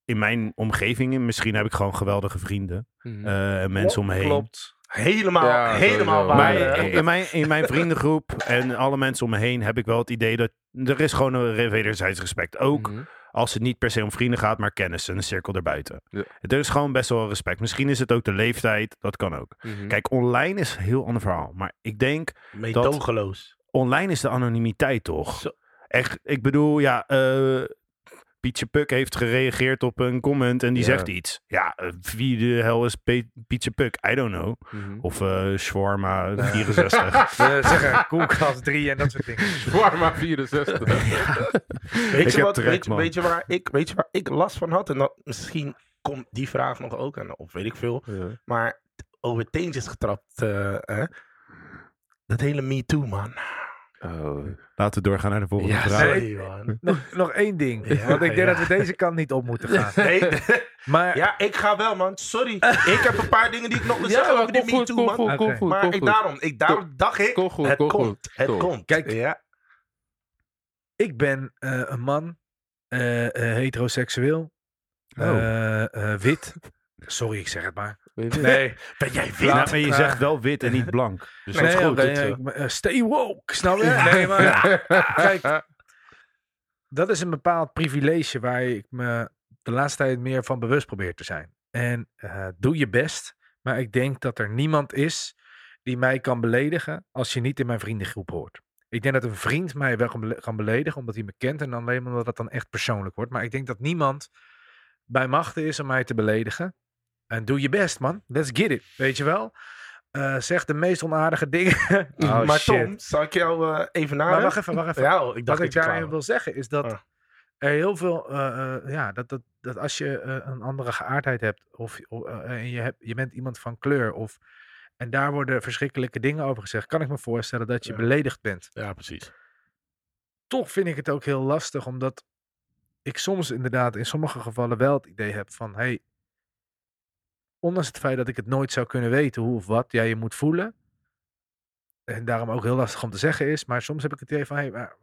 in mijn omgevingen, misschien heb ik gewoon geweldige vrienden
Mhm.
eh, en mensen om me heen.
Klopt. Helemaal,
Ja,
helemaal
sowieso.
waar.
Maar
Ja,
eh.
in, in mijn, in mijn vriendengroep en alle mensen om me heen heb ik wel het idee dat er is gewoon een re- wederzijds respect. Ook
Mhm.
als het niet per se om vrienden gaat, maar kennis en een cirkel erbuiten.
Ja.
Er is gewoon best wel respect. Misschien is het ook de leeftijd, dat kan ook.
Mhm.
Kijk, online is een heel ander verhaal. Maar ik denk,
Meedogenloos.
online is de anonimiteit toch?
Zo.
Echt, ik bedoel, ja, eh Pietje Puk heeft gereageerd op een comment en die
Ja.
zegt iets. Ja, eh, wie de hel is Pe- Pietje Puk? I don't know.
Mhm.
Of eh Shawarma 64.
We eh, zeggen koelkast 3 en dat soort dingen.
Warma 64.
Ik
Weet je,
heb
wat,
trek,
weet, je-
man.
weet je waar ik, weet je waar ik last van had? En dat, misschien komt die vraag nog ook, en, of weet ik veel. Maar t- over teentjes getrapt. eh, hè? Dat hele Me Too, man.
Oh.
Laten we doorgaan naar de volgende
Ja,
vraag.
zeker.
Sorry, man.
Nog, nog één ding.
Ja,
want ik denk
ja.
dat we deze kant niet op moeten gaan.
Nee,
Maar
ja, ik ga wel, man. Sorry. Ik heb een paar dingen die ik nog wil zeggen over die Me Too,
kom
man.
goed, kom
Oké.
goed,
Maar
kom
ik,
goed.
daarom, ik, daarom dacht ik,
Kom goed,
het
kom
komt.
goed.
Het
Kom.
komt.
Kijk,
ja.
ik ben eh, een man, eh, eh, heteroseksueel, eh, eh, wit. Sorry, ik zeg het maar.
Weet je?
Nee,
Ben jij
Ja,
wit?
maar je zegt wel wit en niet blank. Dus dat
nee,
is goed.
oké,
eh.
ik ben- eh, stay woke, snap je? Nee, maar kijk, dat is een bepaald privilege waar ik me de laatste tijd meer van bewust probeer te zijn. En eh, doe je best, maar ik denk dat er niemand is die mij kan beledigen als je niet in mijn vriendengroep hoort. Ik denk dat een vriend mij wel kan bele- kan beledigen omdat hij me kent en dan alleen omdat dat dan echt persoonlijk wordt. Maar ik denk dat niemand bij machten is om mij te beledigen. En doe je best, man. Let's get it. Weet je wel? Eh, zeg de meest onaardige dingen. Oh,
maar
shit.
Tom, zal ik jou eh, even
Maar
nadenken?
wacht even, wacht even
Ja, oh, ik dacht
wat ik
dat je klaar
daarin
was.
wil zeggen is dat
Ah.
er heel veel, eh, eh, ja, dat, dat, dat als je eh, een andere geaardheid hebt of, of, eh, en je, hebt, je bent iemand van kleur of en daar worden verschrikkelijke dingen over gezegd, kan ik me voorstellen dat je
Ja.
beledigd bent.
Ja, precies.
Toch vind ik het ook heel lastig, omdat ik soms inderdaad in sommige gevallen wel het idee heb van, hey, ondanks het feit dat ik het nooit zou kunnen weten hoe of wat jij je moet voelen, en daarom ook heel lastig om te zeggen is, maar soms heb ik het idee van, hey, waar-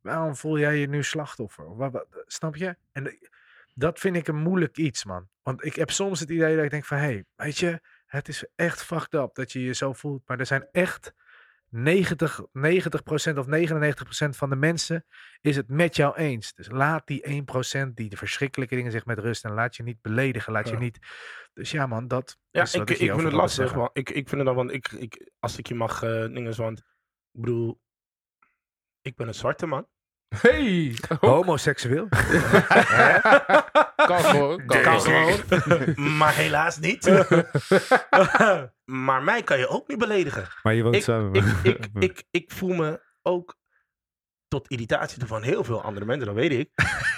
waarom voel jij je nu slachtoffer? Of wa- wa- snap je? En de- dat vind ik een moeilijk iets, man. Want ik heb soms het idee dat ik denk van, hey, weet je, het is echt fucked up dat je je zo voelt, maar er zijn echt 90, 90% of 99% van de mensen is het met jou eens. Dus laat die 1% die de verschrikkelijke dingen zegt met rust en laat je niet beledigen, laat je
Ja.
niet... Dus ja, man, dat...
Ja,
is wat
ik, ik
hierover
vind
wilde
het lastig.
zeggen.
Want ik, ik vind het dan, want ik, ik, als ik je mag, eh dingen, want ik bedoel, ik ben een zwarte man.
Hey!
Homoseksueel?
Kan gewoon. Kan
Kan
gewoon.
gewoon. maar helaas niet. maar mij kan je ook niet beledigen.
Maar je woont
Ik,
samen.
ik, ik, ik, ik voel me ook tot irritatie van heel veel andere mensen, dat weet ik.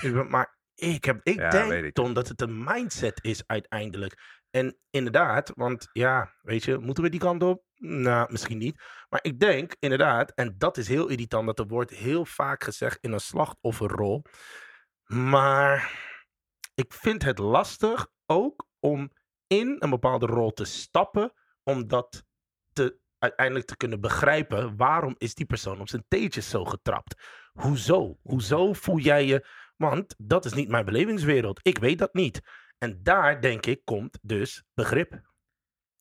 Ik ben- maar ik, heb, ik
Ja, weet
denk,
ik.
Tom, dat het een mindset is uiteindelijk. En inderdaad, want ja, weet je, moeten we die kant op? Nou, misschien niet. Maar ik denk inderdaad, en dat is heel irritant, dat er wordt heel vaak gezegd in een slachtofferrol. Maar ik vind het lastig ook om in een bepaalde rol te stappen, omdat te, uiteindelijk te kunnen begrijpen waarom is die persoon op zijn teentjes zo getrapt. Hoezo? Hoezo voel jij je... Want dat is niet mijn belevingswereld. Ik weet dat niet. En daar, denk ik, komt dus begrip.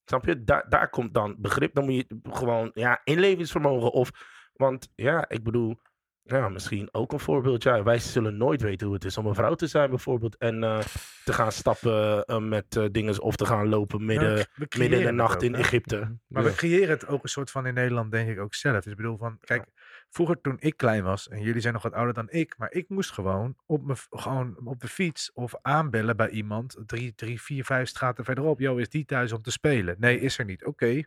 Snap je? Daar, daar komt dan begrip. Dan moet je gewoon ja, inlevingsvermogen of... Want ja, ik bedoel... Ja, misschien ook een voorbeeld. Ja, wij zullen nooit weten hoe het is om een vrouw te zijn bijvoorbeeld. En eh, te gaan stappen eh, met eh, dingen of te gaan lopen midden,
Nou,
midden in de nacht in Egypte.
Maar
Ja.
we creëren het ook een soort van in Nederland, denk ik ook zelf. Dus ik bedoel van, kijk, vroeger toen ik klein was, en jullie zijn nog wat ouder dan ik, maar ik moest gewoon op, me, gewoon op de fiets of aanbellen bij iemand, drie, drie, vier, vijf straten verderop. Yo, is die thuis om te spelen? Nee, is er niet. Oké.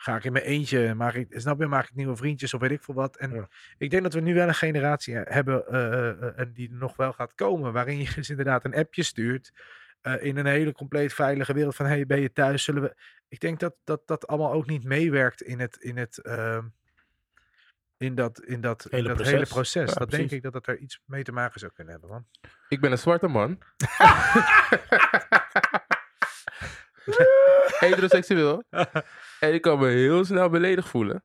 Ga ik in mijn eentje, maak ik, snap je, maak ik nieuwe vriendjes of weet ik veel wat. En
Ja.
ik denk dat we nu wel een generatie eh, hebben eh, eh, en die nog wel gaat komen, waarin je dus inderdaad een appje stuurt eh, in een hele compleet veilige wereld van, hey, ben je thuis? Zullen we, ik denk dat dat, dat allemaal ook niet meewerkt in het, in het ehm, in dat, in dat, in
Hele
dat
proces.
hele proces.
Ja,
dat
precies.
denk ik dat dat er iets mee te maken zou kunnen hebben. Man.
Ik ben een zwarte man. Heteroseksueel. En ik kan me heel snel beledigd voelen.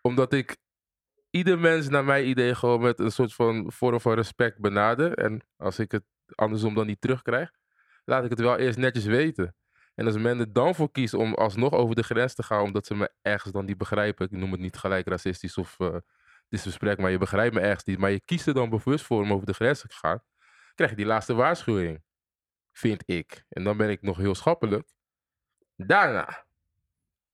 Omdat ik ieder mens naar mijn idee gewoon met een soort van vorm van respect benader. En als ik het andersom dan niet terugkrijg, laat ik het wel eerst netjes weten. En als men er dan voor kiest om alsnog over de grens te gaan, omdat ze me ergens dan niet begrijpen. Ik noem het niet gelijk racistisch of eh disrespect, maar je begrijpt me ergens niet. Maar je kiest er dan bewust voor om over de grens te gaan krijg je die laatste waarschuwing. Vind ik. En dan ben ik nog heel schappelijk. Daarna.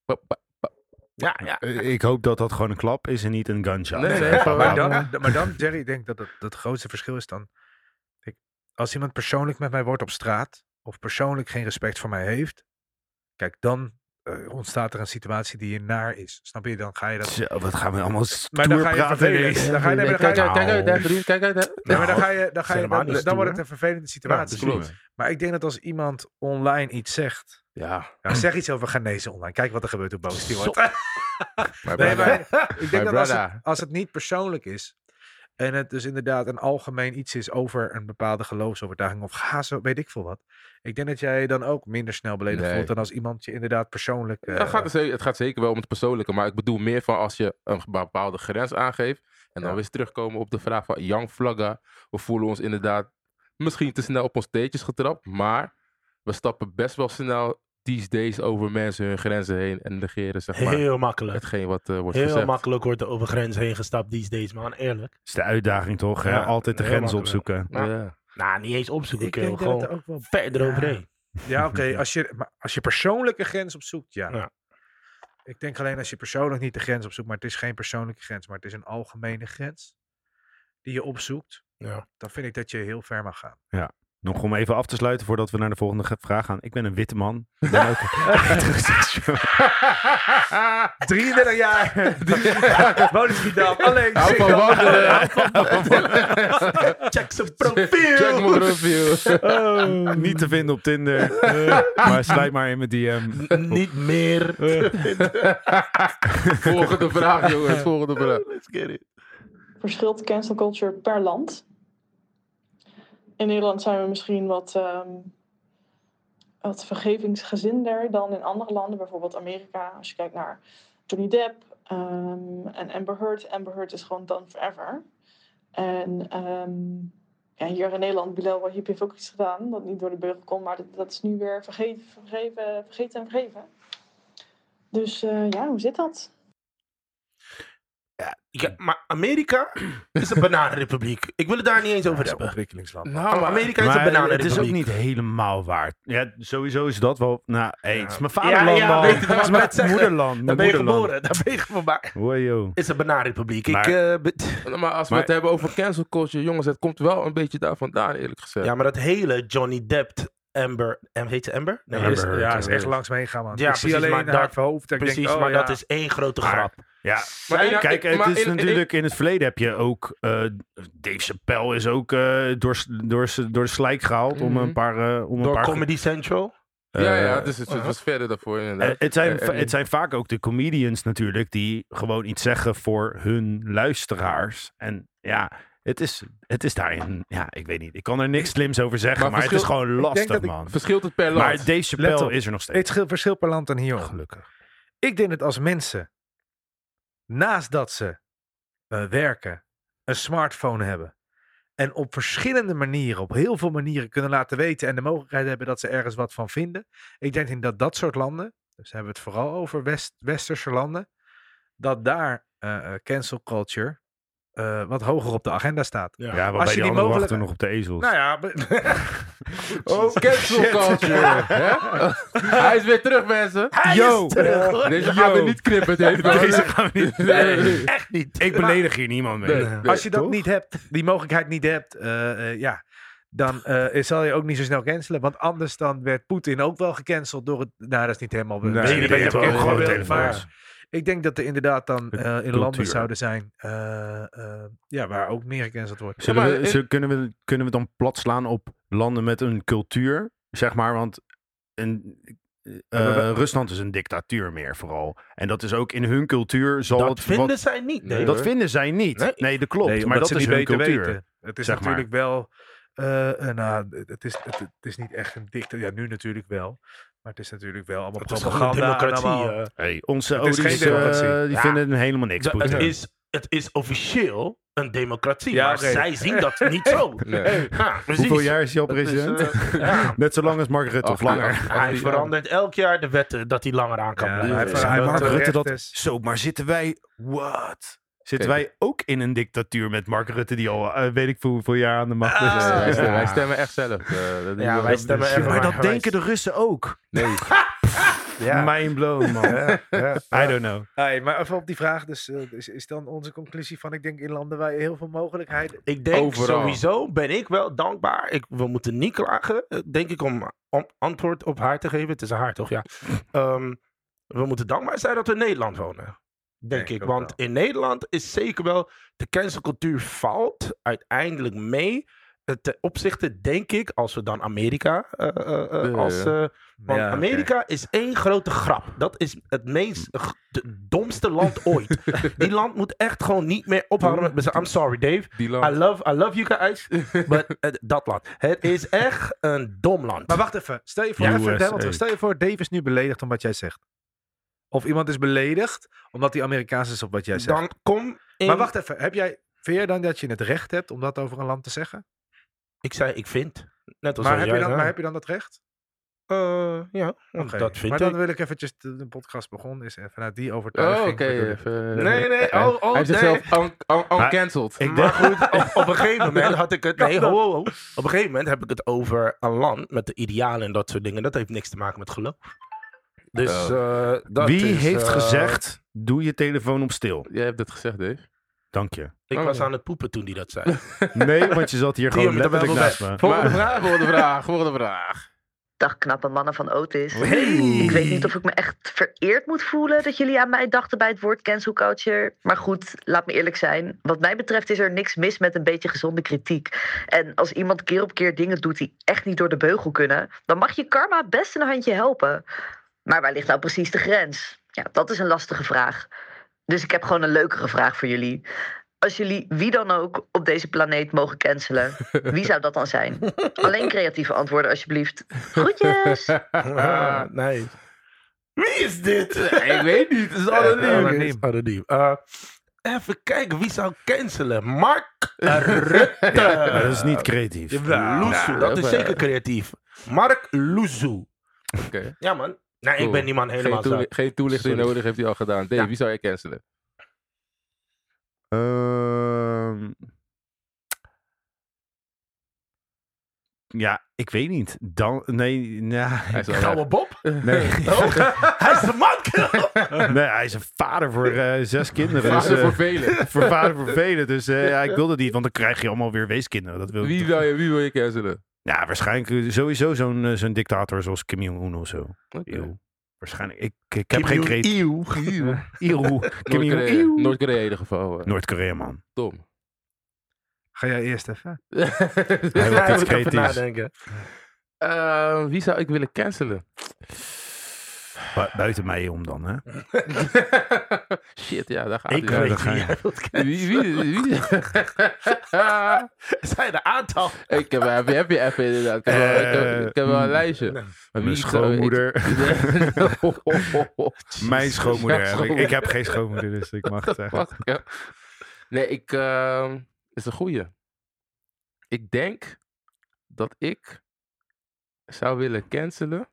Ba- ba-
Ja, ja.
Eh, ik hoop dat dat gewoon een klap is en niet een gunshot.
Nee, nee,
Ja,
gewoon-
Maar
maar-
dan, d- maar dan, Jerry, ik denk dat het, dat het grootste verschil is dan. Kijk, als iemand persoonlijk met mij wordt op straat, of persoonlijk geen respect voor mij heeft, kijk, dan eh, ontstaat er een situatie die je naar is. Snap je? Dan ga je dat.
Zo, wat gaan we allemaal
Maar
stoer
dan ga je
praten
vervelen.
ineens.
Dan ga je, nee, maar dan ga je,
Kijk uit, kijk
nou.
uit, hè, vriend, kijk uit. hè.
nee, maar dan ga je, dan, ga je,
nou, helemaal
dan,
niet
dan
stoer.
wordt Nou, het een vervelende situatie.
klopt.
maar ik denk dat als iemand online iets zegt,
Ja.
ja, zeg iets over Ghanese online, kijk wat er gebeurt op Boos
Maar
Stewart. Nee,
brother,
maar ik
My
denk dat als het,
brother.
als het niet persoonlijk is. En het dus inderdaad een algemeen iets is over een bepaalde geloofsovertuiging. Of ga zo, weet ik veel wat. Ik denk dat jij dan ook minder snel beledigd
Nee.
voelt dan als iemand je inderdaad persoonlijk... eh,
het, gaat er zeker, het gaat zeker wel om het persoonlijke. Maar ik bedoel meer van als je een bepaalde grens aangeeft. En dan
Ja.
weer eens terugkomen op de vraag van Young Vlagga. We voelen ons inderdaad misschien te snel op ons teentjes getrapt. Maar we stappen best wel snel these days over mensen hun grenzen heen. En negeren zeg maar
Heel makkelijk.
hetgeen wat eh, wordt
Heel
gezegd.
makkelijk wordt er over grens heen gestapt these days, man. Eerlijk.
Dat is de uitdaging toch? hè?
Ja,
Altijd de
heel
grens
makkelijk.
opzoeken.
Ja.
Nou, niet eens opzoeken.
ik
kerel.
denk dat
Gewoon
het ook wel...
verder
Ja.
overheen.
Ja, oké. als, je, maar als je persoonlijke grens opzoekt, ja.
Ja.
Ik denk alleen als je persoonlijk niet de grens opzoekt. Maar het is geen persoonlijke grens. Maar het is een algemene grens. Die je opzoekt.
Ja.
Dan vind ik dat je heel ver mag gaan.
Nog om even af te sluiten voordat we naar de volgende ge- vraag gaan. Ik ben een witte man. Ik ben ook heteroseksueel.
33 jaar! Woon in Schiedam. Alleen
Hou van
single.
wandelen.
Check zijn
Check
profiel. Oh.
mijn profiel.
Niet te vinden op Tinder. Eh, maar sluit maar in mijn DM.
niet meer.
Volgende vraag, jongens. Volgende vraag.
Let's get it.
verschilt cancel culture per land. In Nederland zijn we misschien wat, ehm, wat vergevingsgezinder dan in andere landen, bijvoorbeeld Amerika. Als je kijkt naar Johnny Depp ehm, en Amber Heard. Amber Heard is gewoon done forever. En ehm, ja, hier in Nederland, Bilal Wahib heeft ook iets gedaan dat niet door de beugel kon, maar dat, dat is nu weer vergeven, vergeven, vergeten en vergeven. Dus eh, ja, hoe zit dat?
Ja, maar Amerika is een bananenrepubliek. Ik wil het daar niet eens over hebben. Oh,
ontwikkelingsland.
Oh,
Nou, maar-
Amerika is een
het is ook
bananenrepubliek.
niet helemaal waar. Ja, sowieso is dat wel... Nou, hey, het is mijn
Ja,
vaderland
ja,
man.
weet ik, dat
Het is
wou ik net
mijn
zeggen.
moederland. Mijn
Daar ben je
moederland.
geboren. Daar ben je geboren. Maar
Hoi, joh.
het is een bananenrepubliek. Ik,
Maar-
eh, bet-
Maar als we
Maar-
het hebben over cancel culture, jongens, het komt wel een beetje daar vandaan, eerlijk gezegd.
ja, maar dat hele Johnny Depp, Amber... Em- Heet ze Amber? Nee,
Ja,
Amber
is,
Heard.
ja, is echt
Heard.
langs me heen gaan, man.
Ja,
ik zie
precies,
alleen
maar
haar
dat-
hoofd. en Ik
Precies,
denk, oh,
maar
ja.
dat is één grote
Maar-
grap.
Ja,
Maar
Zij-
ja,
Kijk,
ik-
het
maar
is
in- in-
natuurlijk in het verleden heb je ook eh, Dave Chappelle is ook eh, door, door, door de slijk gehaald om
Mhm.
een paar eh, om een
Door
paar
Comedy Central.
eh,
ja, ja, dus het, het
eh,
was verder daarvoor
eh,
inderdaad.
het zijn
Eh,
va-
en-
het zijn vaak ook de comedians natuurlijk die gewoon iets zeggen voor hun luisteraars en ja. Het is, het is daarin, ja, ik weet niet. Ik kan er niks slims over zeggen, maar,
Maar verschil-
het is gewoon
ik denk
lastig,
dat ik-
man.
Verschilt het per land.
Maar Dave
Let
Chappelle
op.
is er nog
Het
steeds.
schil- verschil per land en hier.
Gelukkig.
Ik denk dat als mensen, naast dat ze eh, werken, een smartphone hebben. En op verschillende manieren, op heel veel manieren kunnen laten weten en de mogelijkheid hebben dat ze ergens wat van vinden. Ik denk dat dat soort landen, dus hebben we het vooral over West, westerse landen, dat daar eh, eh, cancel culture eh, wat hoger op de agenda staat.
Ja, maar
Als je
bij die
die
anderen
mogelijk-
wachten we nog op de ezels.
Nou ja, be-
Oh, cancel culture. hè? Hij is weer terug, mensen.
Yo!
Deze gaan we
Yo.
niet knippen, Dave.
Deze gaan we niet.
Nee.
echt niet. Ik beledig hier niemand mee.
Nee, nee.
als je dat
Eh, Toch?
niet hebt, die mogelijkheid niet hebt, eh, eh, ja, dan eh, zal je ook niet zo snel cancelen. Want anders dan werd Poetin ook wel gecanceld door het... Nou, dat is niet helemaal...
Nee,
misschien
die
dat je
hebben
het
ook
cancelen
gewoon
wilt,
telefoons.
maar Ik denk dat er inderdaad dan eh, in landen
cultuur.
zouden zijn eh, eh, ja, waar ook meer gecanceld wordt.
Zullen
Ja,
we,
maar in-
zullen- kunnen, we, kunnen we dan plat slaan op landen met een cultuur? Zeg maar, want een, eh, eh, Rusland is een dictatuur meer vooral. En dat is ook in hun cultuur zal
Dat
het...
vinden
wat-
zij niet. Nee,
Nee,
dat vinden zij niet.
Nee.
Nee, dat klopt.
Nee,
maar
omdat
dat
ze
is
niet beter
hun cultuur.
weten. Het is
zeg maar.
natuurlijk wel... eh, eh, nou, het is, het, het is niet echt een dikte. Ja, nu natuurlijk wel. Maar het is natuurlijk wel allemaal
dat is gewoon een
propaganda. en
democratie.
allemaal-
eh.
Hey, onze
Het is geen
Ody's, eh,
democratie.
die
Ja.
vinden helemaal niks.
Da- het,
Poetin.
is, het is officieel een democratie,
Ja,
maar
oké.
zij zien dat niet zo.
Nee.
Ja, precies.
Hoeveel jaar is hij al
Dat is,
president?
eh, ja.
Net zo lang als Mark Rutte, of
Ach,
langer.
ach, ach,
Hij
die-
verandert elk jaar de wetten dat hij langer aan kan
Ja,
blijven.
hij
Dus
ver- hij
dat,
maakt
eh,
Rutte
dat-
is-
Zo, maar zitten wij... Wat? Zitten
Kijk.
wij ook in een dictatuur met Mark Rutte... die al eh, weet ik voor hoeveel jaar aan de macht is?
Nee,
Ah.
wij, stemmen,
Ja.
wij stemmen echt zelf. Eh, dat-
Ja,
dat-
wij
dat-
stemmen
dat-
echt
Maar
Maar
dat
hij
denken de
is-
Russen ook.
Nee.
Ja. Mind blown, man. I don't know.
Hey, maar even op die vraag, dus eh, is, is dan onze conclusie van ik denk in landen waar je heel veel mogelijkheden.
Ik denk
Overal.
sowieso ben ik wel dankbaar. Ik, we moeten niet klagen, eh, denk ik, om, om antwoord op haar te geven. Het is haar, toch? Ja. Ehm, we moeten dankbaar zijn dat we in Nederland wonen. Denk
Denk
ik.
ook
Want in Nederland is zeker wel. De cancelcultuur valt uiteindelijk mee. eh, Ten opzichte, denk ik, als we dan Amerika. eh, eh, eh,
Ja,
als,
ja.
eh, want Amerika is één grote grap. Dat is het meest. eh, g- de domste land ooit. Die land moet echt gewoon niet meer ophouden met. bezig- I'm sorry, Dave.
Die
I
land.
love, I love you guys, but eh, dat land. Het is echt een dom land.
Maar wacht even, stel je voor,
Ja,
even
USA.
helemaal terug. Stel je voor, Dave is nu beledigd om wat jij zegt. Of iemand is beledigd omdat hij Amerikaans is op wat jij zegt.
dan kom in...
Maar wacht even, heb jij, vind jij dan dat je het recht hebt om dat over een land te zeggen?
Ik zei, ik vind. Net als
Maar
wat
heb, je
jij
dan, maar
zei.
heb je dan dat recht?
Eh, ja, want
Oké,
dat vind
maar
ik.
dan wil ik eventjes, de, de podcast begon, is even vanuit die
Oh,
overtuiging.
oké.
bedoel ik.
even- eh,
Nee, nee,
Hij-
oh, oh,
Hij heeft
nee.
zichzelf un- un-
Maar-
uncancelled.
Ik
Maar
denk...
goed, eh, op, op een gegeven moment had ik het... Nee, ho, ho, ho. Op een gegeven moment heb ik het over een land met de idealen en dat soort dingen. Dat heeft niks te maken met geloof. Dus eh, dat
Wie
is,
heeft
eh,
gezegd, doe je telefoon op stil?
Jij hebt dat gezegd, Dave.
Dank je.
Ik
Oh,
was
ja.
aan het poepen toen die dat zei.
Nee, want je zat hier
Die
gewoon
hebben er
letterlijk
wel
naast me.
Volgende
Maar-
vraag, volgende vraag, volgende vraag.
Dag knappe mannen van Otis.
Hey.
Ik weet niet of ik me echt vereerd moet voelen dat jullie aan mij dachten bij het woord cancel culture. Maar goed, laat me eerlijk zijn. Wat mij betreft is er niks mis met een beetje gezonde kritiek. En als iemand keer op keer dingen doet die echt niet door de beugel kunnen, dan mag je karma best een handje helpen. Maar waar ligt nou precies de grens? Ja, dat is een lastige vraag. Dus ik heb gewoon een leukere vraag voor jullie. Als jullie wie dan ook op deze planeet mogen cancelen, wie zou dat dan zijn? Alleen creatieve antwoorden alsjeblieft. Groetjes!
Ah, nee. Wie is dit?
Ik weet niet, het is
Eh,
anoniem.
anoniem. Anoniem. Eh, even kijken, wie zou cancelen? Mark Rutte.
Maar dat is niet creatief.
Loezoe,
Nou,
dat
even-
is zeker creatief. Mark Loezoe.
Oké.
Ja, man. Nee,
Cool.
ik ben die man helemaal
Geen,
zo.
toeli- geen toelichting
Sorry.
nodig heeft hij al gedaan. Dave,
Ja.
wie zou jij cancelen?
Ehm, ja, ik weet niet. Dan, nee, nee,
Hij is al
Gaan we
weg.
Bob?
nee.
Oh, hij is de man.
nee, hij is een vader voor eh, zes kinderen.
Vader
dus, eh,
voor velen.
voor vader voor velen. Dus eh, ja, ik wilde niet, want dan krijg je allemaal weer weeskinderen. Dat wil ik
Wie
toch-
wil je, wie wil je cancelen?
Ja, waarschijnlijk sowieso zo'n eh, zo'n dictator zoals Kim Jong-un of zo.
Oké.
Eeuw. Waarschijnlijk. Ik, ik heb
Kim
geen
Jong-il.
kreet. Eeuw. Kim
Noord-Korea
Jong-il.
Noord-Korea in ieder geval. eh,
Noord-Korea, man.
Dom.
Ga jij eerst even?
Hij
wordt
moet
iets
even
kritisch.
nadenken.
Eh, wie zou ik willen cancelen?
Bu- buiten mij om dan, hè.
Shit, ja, daar gaat
Ik
hij.
daar
weet
ga
wie
je.
jij wilt
Wie,
kennen.
wie, wie?
Zijn er aantal?
ik heb, heb, je- heb je even inderdaad. Ik heb, wel, ik heb, ik heb wel een
Eh,
lijstje.
nee.
Maar zou
Mijn
ik-
schoonmoeder.
Nee. Ho, ho, ho, ho.
Mijn schoonmoeder.
Ja,
heb ik.
schoonmoeder.
ik heb geen schoonmoeder, dus ik mag het zeggen.
Fuck, ja. Nee, ik. ehm, dat is een goeie. Ik denk dat ik zou willen cancelen.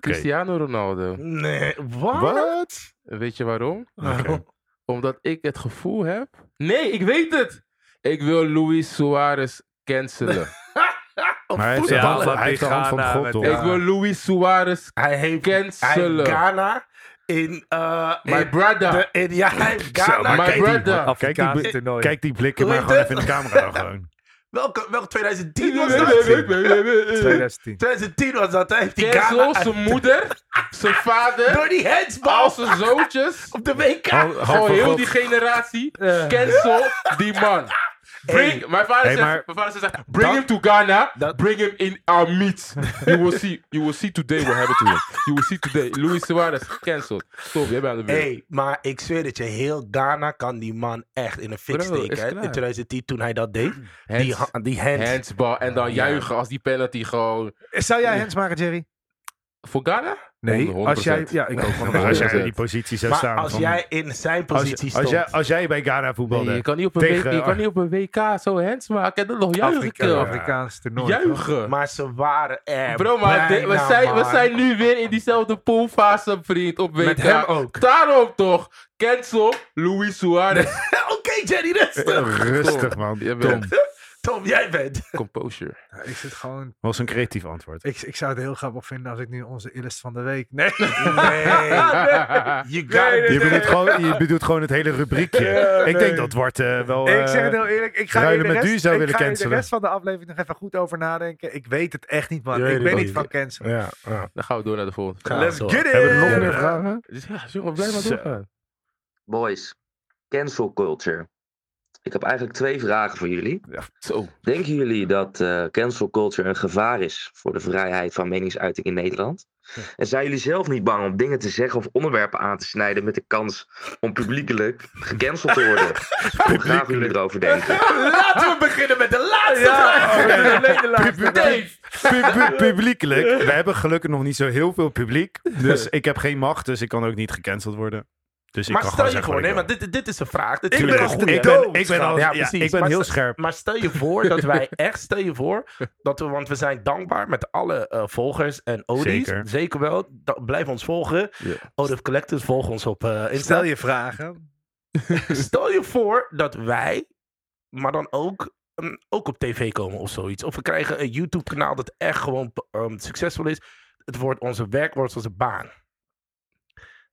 Cristiano Ronaldo.
Nee, wat?
Wat?
Weet je waarom?
Waarom?
Omdat ik het gevoel heb. Nee, ik weet het! Ik wil Luis Suarez cancelen.
Maar hij heeft de
Ja,
hand,
laat
hij heeft de
die
hand van
Ghana
God,
met-
toch?
Ik wil Luis Suarez
Hij heeft, hij heeft
cancelen.
Ghana in... eh
My
in
brother.
de- in- ja, hij heeft Ghana.
maar
Kijk,
kijk- brother.
Kijk die,
Afrikaanse
blik-
toernooi.
kijk die blikken
Hoe
maar
heet
gewoon
het?
even in de camera dan gewoon.
welke, welke 2010 was dat?
2010.
2010.
2010 was dat. Hij heeft die
Cancel
Ghana
zijn moeder, zijn vader,
door die handsbal
al zijn zoontjes.
op de WK.
Hand- hand
Gewoon
van
heel
God.
die generatie. Cancel die man. Bring, mijn, vader
Hey,
zegt,
maar-
mijn vader zegt, bring
dat-
him to Ghana,
dat-
bring him in our meat. You will see, you will see today what happened to him. You will see today. Luis Suarez, cancelled. Stop, jij bent aan de beurt.
Hey, maar ik zweer dat je heel Ghana kan die man echt in een fik
Bro, is
steken. hè. In
klaar.
2010 toen hij dat deed.
Hands-
Die, ha- die hand.
Handsbal en dan juichen als die penalty gewoon...
Zou jij hands maken, Jerry?
Voor Ghana?
Nee,
100%.
als jij... Ja, ik ook van
Maar
Maar als
een
jij in die positie zou
Maar
staan...
als
van-
jij in zijn
als,
positie
als, jij,
stond.
als jij bij Ghana voetbalde...
Nee, je, kan niet op een
Tegen-
WK,
eh,
je kan niet op een WK zo hands maken en dan nog juichen.
Afrika,
kill.
Afrikaans toernooi. toch?
Juichen!
Maar ze waren er.
Bro, maar
bijna,
dit- we, zijn, we
man.
zijn nu weer in diezelfde poolfase, vriend, op WK.
Met hem ook.
Daarom toch, cancel Luis Suarez.
Oké, Jenny,
Eh,
rustig.
Rustig, man.
Je
Tom,
bent
Tom, jij bent.
composure.
Ja, Ik zit gewoon...
was een creatief antwoord.
Ik, ik zou het heel grappig vinden als ik nu onze illest van de week... Nee.
Nee. You got
Nee,
it.
Je bedoelt, gewoon, je bedoelt gewoon het hele rubriekje.
Ja,
ik
nee.
denk dat Wart eh, wel...
ik zeg het
eh,
heel eerlijk, ik ga,
Ruilen
hier de
met
rest,
u zou
ik
willen
ga hier de
cancelen.
rest van de aflevering nog even goed over nadenken. Ik weet het echt niet,
Je
man.
weet
Ik
het
ben
ook
niet van cancelen.
Ja, ja.
Dan gaan we door naar de volgende.
Ga
Let's
zo.
get it!
Hebben we nog meer vragen?
Ja, jongen, blijf maar
Zo.
doorgaan.
Boys, cancel culture. Ik heb eigenlijk twee vragen voor jullie.
Zo.
Denken jullie dat eh, cancel culture een gevaar is voor de vrijheid van meningsuiting in Nederland? En zijn jullie zelf niet bang om dingen te zeggen of onderwerpen aan te snijden met de kans om publiekelijk gecanceld te worden? Hoe graag jullie erover denken.
Laten we beginnen met de laatste vraag.
Dave!
Pub- pub- publiekelijk. We hebben gelukkig nog niet zo heel veel publiek. Dus ik heb geen macht, dus ik kan ook niet gecanceld worden. Dus ik
Maar
kan
stel je
zeggen wat
gewoon, nee,
ik
maar
wil.
dit, dit is een vraag. Dit
Ik
is
ben,
een
al-
goede.
ik ben, ik ben, al, ja,
Ja, precies.
ik ben
Maar
heel
stel-
scherp.
Maar stel je voor dat wij echt, stel je voor dat we, want we zijn dankbaar met alle eh, volgers en odies.
Zeker.
wel. Da- blijf ons volgen.
Ja.
Odif Collectors, volg ons op eh Insta.
Stel je vragen.
Stel je voor dat wij, maar dan ook, mm, ook op tv komen of zoiets. Of we krijgen een YouTube-kanaal dat echt gewoon ehm, succesvol is. Het wordt onze werk, wordt onze baan.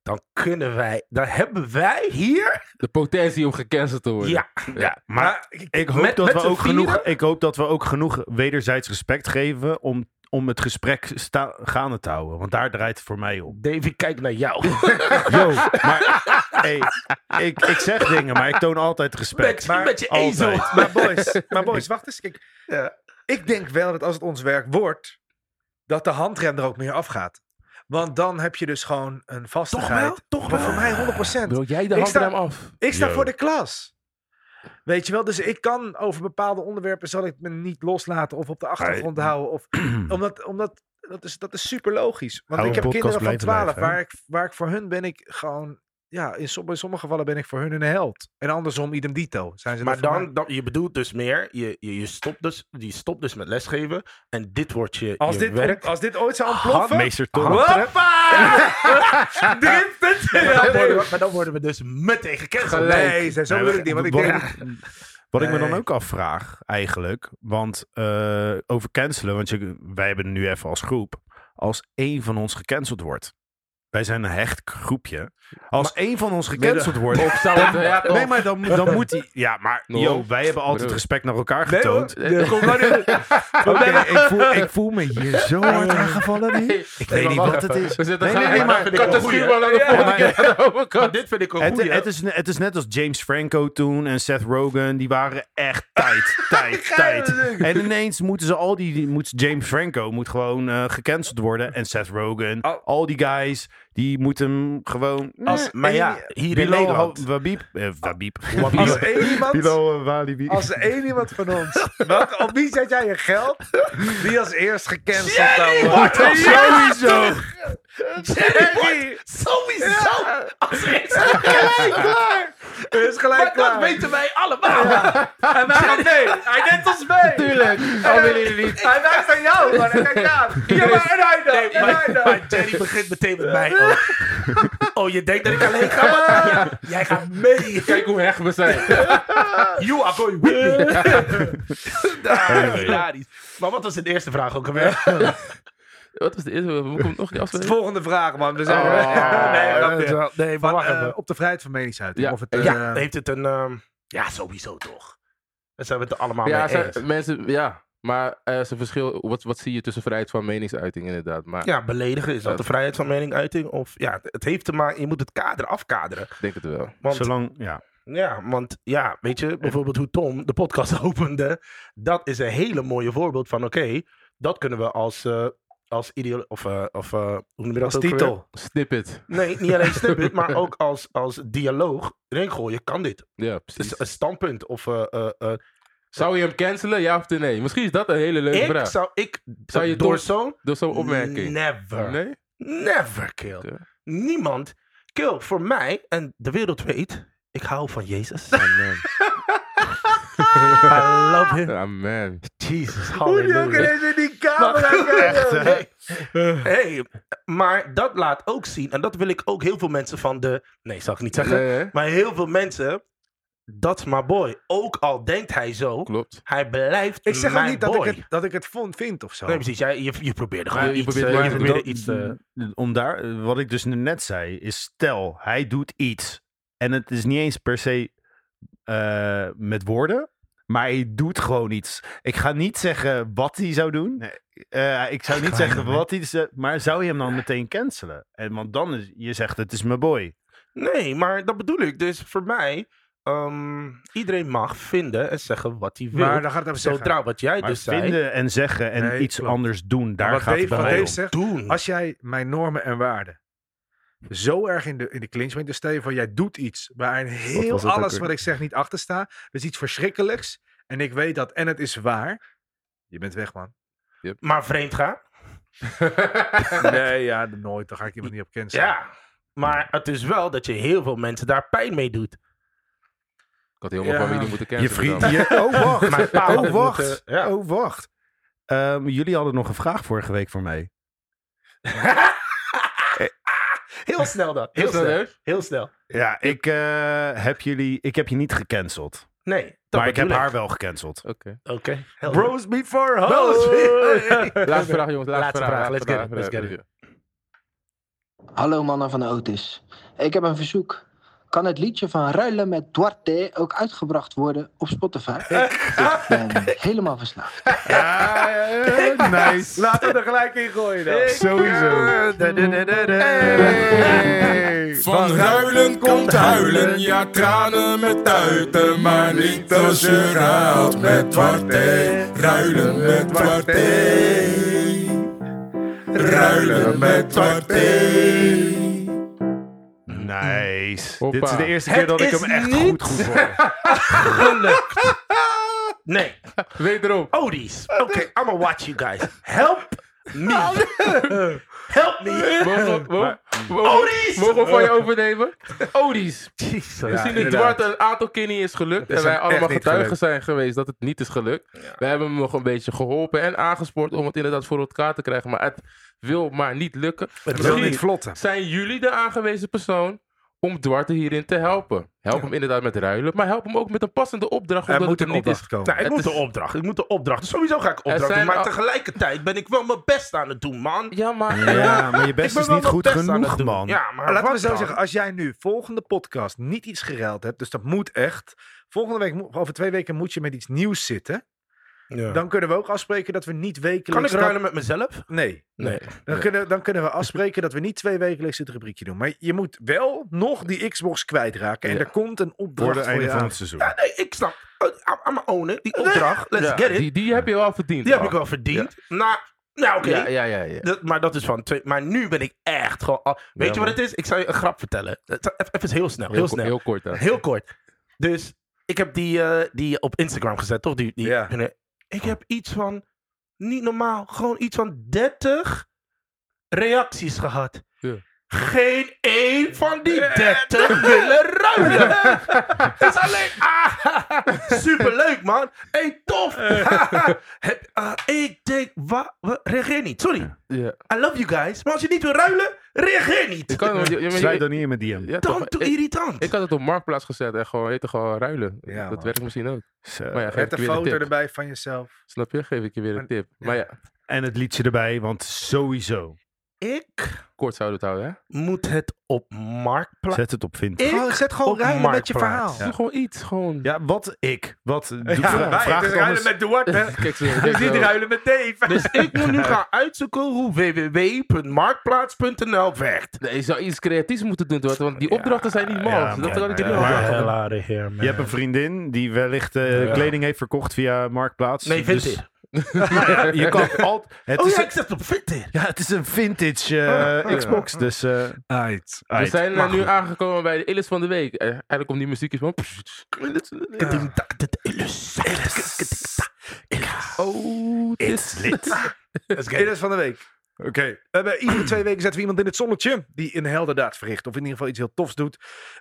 Dan kunnen wij, dan hebben wij hier.
De potentie om gecanceld te worden.
Ja, ja.
Maar ik hoop,
met-
dat
met
we
z'n
ook genoeg,
vieren?
ik hoop dat we ook genoeg wederzijds respect geven om, om het gesprek sta- gaande te houden. Want daar draait het voor mij om.
Davy, kijk naar jou.
Yo, maar hey, ik, ik zeg dingen, maar ik toon altijd respect.
Met, met je
altijd.
ezel.
Maar boys, maar boys wacht eens. Kijk,
Ja.
ik denk wel dat als het ons werk wordt, dat de handrem er ook meer afgaat. Want dan heb je dus gewoon een
Toch
vastigheid.
wel? Toch
Maar voor
wel?
mij 100%.
Wil jij de
Ik sta-
handrem af?
Ik sta
Yo.
voor de klas. Weet je wel, dus ik kan over bepaalde onderwerpen zal ik me niet loslaten of op de achtergrond houden. Of, omdat omdat dat, is, dat is super logisch. Want
Hou
ik
een
heb
podcast
kinderen van 12
blijven blijven, hè?
waar ik, waar ik voor hun ben ik gewoon ja, in sommige, in sommige gevallen ben ik voor hun een held. En andersom, idem dito. Zijn ze
Maar
dat voor mij?
dan, dan, je bedoelt dus meer, je, je, je, stopt dus, je stopt dus met lesgeven en dit wordt je,
Als
je
dit,
werk.
als dit ooit zou ontploffen...
Meester Tom.
Hoppa! Drie punten!
Maar
Ja,
dan worden
nee.
we- maar dan worden we dus meteen gecanceld.
Nee, ze- zo
Nee,
wil
we-
ik niet. Want ik
we-
denk,
Wat ik me dan
Nee.
ook afvraag, eigenlijk. Want eh, over cancelen, want je, wij hebben nu even als groep. Als één van ons gecanceld wordt. Wij zijn een hecht groepje. Als één van ons gecanceld wordt.
Of zou het... Ja, toch.
Nee, maar dan, moet- dan moet hij. Ja, maar
No.
yo, wij hebben altijd
Bedoel.
respect naar elkaar
nee hoor,
getoond.
dat komt wel niet.
Oké, ik, voel, ik voel me hier zo hard aangevallen nu. Ik weet niet wat het is.
We zitten
Nee, nee,
gelijk-
nee, maar-
Ik had de schuurman aan de volgende keer aan de overkant.
Dit vind ik een
Het,
goeie.
het, is, het is net als James Franco toen en Seth Rogen. Die waren echt tijd, tijd, tijd. En ineens moeten ze al die... die- Moet James Franco moet gewoon eh, gecanceld worden. En Seth Rogen.
Oh.
Al die guys, die moeten hem gewoon...
Als- maar
en-
ja, hier in
Bilal
Nederland.
Hab- Wabieb. eh, Wabieb.
Als één iemand...
Bilal, eh, Walibi.
Als er één iemand van ons... Wat, op wie zet jij je geld? Wie als eerst gecanceld zou worden?
Sowieso.
Jerry!
Sowieso!
Gelijk klaar! Is gelijk
Dat
klaar.
weten wij allemaal.
Hij maakt mee. Hij neemt ons mee.
Tuurlijk. Al willen jullie niet.
Hij wijst aan jou. gewoon. Hij kijkt aan. Ja, maar en hij dan.
Nee,
en
maar,
hij dan.
maar Jerry begint meteen met mij ook. Oh, je denkt dat ik alleen ga? Maar, ja, jij gaat mee.
Kijk hoe hecht we zijn.
You are going with me. Daar, hilarisch. Maar wat was de eerste vraag ook alweer?
Wat was de eerste? Hoe komt nog die
De
afspraak?
volgende vraag, man. We zijn
Oh,
nee,
dat
grapje.
is wel- nee, maar
Van,
wacht
eh,
even.
op de vrijheid van meningsuiting.
Ja,
Of het, eh,
Ja, heeft het een... ehm, ja, sowieso toch. Daar zijn we het er allemaal
Ja,
mee eens.
zijn- mensen... Ja. Maar er is een verschil. Wat, wat zie je tussen vrijheid van meningsuiting inderdaad? Maar
Ja, beledigen, is dat de vrijheid van meningsuiting? Of ja, het heeft te maken, je moet het kader afkaderen.
ik denk het wel.
Want
Zolang, ja.
Ja, want ja, weet je, bijvoorbeeld hoe Tom de podcast opende, dat is een hele mooie voorbeeld van, oké, dat kunnen we als, eh als ideoloog, of, eh, of eh, hoe noem je dat
als
ook alweer?
titel.
Snippet.
Nee, niet alleen snippet, maar ook als, als dialoog erin gooien, kan dit.
Ja,
Het
precies.
is een standpunt of... eh, eh, eh,
Zou je hem cancelen, ja of nee? Misschien is dat een hele leuke
ik
vraag.
zou, ik,
Zou je
door
Tom-
zo'n...
Door zo'n opmerking.
Never.
Nee?
Never kill.
Oké.
Niemand. Kill voor mij en de wereld weet. Ik hou van Jezus. I
Amen.
love him.
Amen.
Jesus.
Hoe die ook
Hallelujah.
ineens in die camera kijken.
Hey. Hey, maar dat laat ook zien. En dat wil ik ook heel veel mensen van de. Nee, zal ik niet zeggen.
Nee, hè?
Maar heel veel mensen. That's my boy. Ook al denkt hij zo.
Klopt.
Hij blijft.
Ik zeg ook
mijn
niet dat ik,
boy.
het, dat ik het vond, vind of zo.
Nee, precies. Jij, je, je probeerde
Maar
gewoon
je
iets.
probeert
eh,
maar
je
te
probeerde
Dat-
iets. eh,
om daar, wat ik dus net zei, is stel, hij doet iets. En het is niet eens per se eh, met woorden, maar hij doet gewoon iets. Ik ga niet zeggen wat hij zou doen. Nee, eh, ik zou niet zeggen wat hij zou maar zou je hem dan meteen cancelen? En, want dan is, je zegt, het is mijn boy.
Nee, maar dat bedoel ik. Dus voor mij, ehm, iedereen mag vinden en zeggen wat hij wil.
Maar dan gaat het even zeggen.
Zodra wat jij
Maar
dus zei,
vinden en zeggen en
Nee,
iets
klopt.
anders doen, daar
Maar
gaat
wat
het bij
Dave, wat
mij
Dave
om.
zegt,
doen.
als jij mijn normen en waarden zo erg in de, in de clinch brengt, dus stel je voor, jij doet iets waarin heel
was het ook
alles
weer?
wat ik zeg niet achter sta, dus iets verschrikkelijks, en ik weet dat, en het is waar, je bent weg, man.
maar vreemd gaan.
Nee, ja, nooit, dan ga ik iemand niet op kennis.
Ja. Maar het is wel dat je heel veel mensen daar pijn mee doet.
Ik had helemaal
Ja.
familie moeten
Je
cancelen.
vriend.
dan.
je- oh, wacht.
Mijn pa had
oh,
het
wacht.
moeten- ja.
Oh, wacht. Ehm, jullie hadden nog een vraag vorige week voor mij.
Heel snel dan. Heel
Heel
snel.
serieus?
Heel snel.
Ja, ik, eh, heb jullie, ik heb je niet gecanceld.
Nee. dat
maar ik heb
bedoel
haar wel gecanceld.
Oké.
Oké. helder.
Bros before hoes.
Laatste vraag, jongens. Laatste,
Laatste vraag. Let's
laatste
get it, let's get it.
Hallo mannen van de Otis. Ik heb een verzoek. Kan het liedje van Ruilen met Duarte ook uitgebracht worden op Spotify? Ik ben helemaal verslaafd.
Eh,
nice.
Laten we er gelijk in gooien dan.
Sowieso.
Van ruilen komt huilen, ja tranen met tuiten, maar niet als je ruilt met Duarte. Ruilen met Duarte. Ruilen met Duarte.
Nice.
Hoppa.
Dit is de eerste keer dat ik
is
hem echt goed
niet-
goed vond.
Nee.
Wederom.
Odies. Oké, I'm gonna watch you guys. Help me. Help me.
Mogen we- mogen- Odis! Mogen we van je
Oh.
overnemen? Odis! We
Jezus. Nou,
zien dat Duarte een aantal keer niet is gelukt. En wij
zijn
allemaal
echt niet
getuigen
gelukt.
zijn geweest dat het niet is gelukt. We hebben hem nog een beetje geholpen en aangespoord om het inderdaad voor elkaar te krijgen. Maar het wil maar niet lukken.
Het wil
Misschien
niet vlotten.
zijn jullie de aangewezen persoon om Duarte hierin te helpen. Help hem inderdaad met ruilen, maar help hem ook met een passende opdracht.
Er
Omdat
moet
het
een
hem niet is
opdracht komen.
Nou, ik
Het
moet
is-
de opdracht. Ik moet de opdracht. Dus sowieso ga ik
Er
opdracht
zijn
doen. Maar
al-
tegelijkertijd ben ik wel mijn best aan het doen, man.
Ja, maar...
Ja, maar je best
ben
is
wel
niet
mijn
goed
best aan het
genoeg,
doen.
man.
Ja, maar
Maar laten we
wat
zo
dan?
zeggen, als jij nu volgende podcast niet iets geruild hebt, dus dat moet echt. Volgende week, mo- over twee weken moet je met iets nieuws zitten.
Ja.
Dan kunnen we ook afspreken dat we niet
kan ik
wekelijks...
ruilen met mezelf?
Nee.
Nee.
Dan, Kunnen, dan kunnen we afspreken dat we niet twee wekelijks het rubriekje doen. Maar je moet wel nog die Xbox kwijtraken. En
Ja.
er komt een
Voor
opdracht
de
voor,
einde
je
van
aan.
het seizoen.
Ja, nee, ik snap. Oh, I'm, I'm owner. Die opdracht, let's
Ja,
get it. Die,
Die, die heb je wel verdiend.
heb ik wel verdiend. Nou, nou oké.
Ja, ja, ja. ja.
Dat- maar dat is van twee. Maar nu ben ik echt gewoon. al- weet je
man.
wat het is? Ik zou je een grap vertellen. Het- Even even heel snel. Heel,
Heel, ko-
snel.
heel kort dan.
Heel kort. Dus ik heb die, eh, die op Instagram gezet, toch? Die, die,
Ja.
Ik heb iets van, niet normaal, gewoon iets van 30 reacties gehad.
Ja.
Geen één van die 30 willen ruilen. Het is alleen, ah, superleuk man. hey, tof. Heb- eh, ik denk, wa, wa- reageer niet, sorry.
Ja.
I love you guys. Maar als je niet wil ruilen, reageer
Je
niet.
kan, je, je- je-
Sluit dan niet in mijn DM.
ja, toch,
Dan te
ik,
irritant.
ik had het op Marktplaats gezet en gewoon, heette gewoon ruilen.
Ja,
dat
man.
werkt misschien ook.
Zo.
Maar ja, geef
Met
ik
een
je weer een
foto
tip.
erbij van jezelf.
Snap je? Geef ik je weer een
Maar-
tip. Maar ja,
En het liedje erbij, want sowieso.
ik
kort zouden we het houden, hè?
moet het op marktplaats.
Zet het op vindt.
Ik
Gewoon, zet gewoon
op
ruilen met je
Marktplaats.
verhaal.
Doe Gewoon iets, gewoon...
Ja, wat ik? Wat? Doe,
Ja,
vraag,
wij
vraag het
ruilen
anders.
met Duarte.
Kijk, ze,
Dus niet
zo.
ruilen met Dave.
Dus ik moet nu gaan uitzoeken hoe www.marktplaats.nl werkt.
Nee, je zou iets creatiefs moeten doen, Duarte, want die opdrachten zijn niet mals.
ja,
dat kan ik er niet
ja.
op
Maar-
zeggen.
Je hebt een vriendin die wellicht eh, kleding heeft verkocht via Marktplaats.
Nee,
Dus-
vintage.
Nou ja, je kan altijd... Het
Oh
is
ja,
een-
ik zet op Vinted.
Ja, het is een vintage eh, Xbox, dus... eh,
Uit.
We
uit.
zijn eh,
Maar
nu
goed.
aangekomen bij de Illis van de Week. Eh, eigenlijk om die muziekjes van... Oh, dit is
Let's get it.
Iris van de week. Oké. We hebben iedere twee weken zetten we iemand in het zonnetje die een heldendaad verricht. Of in ieder geval iets heel tofs doet.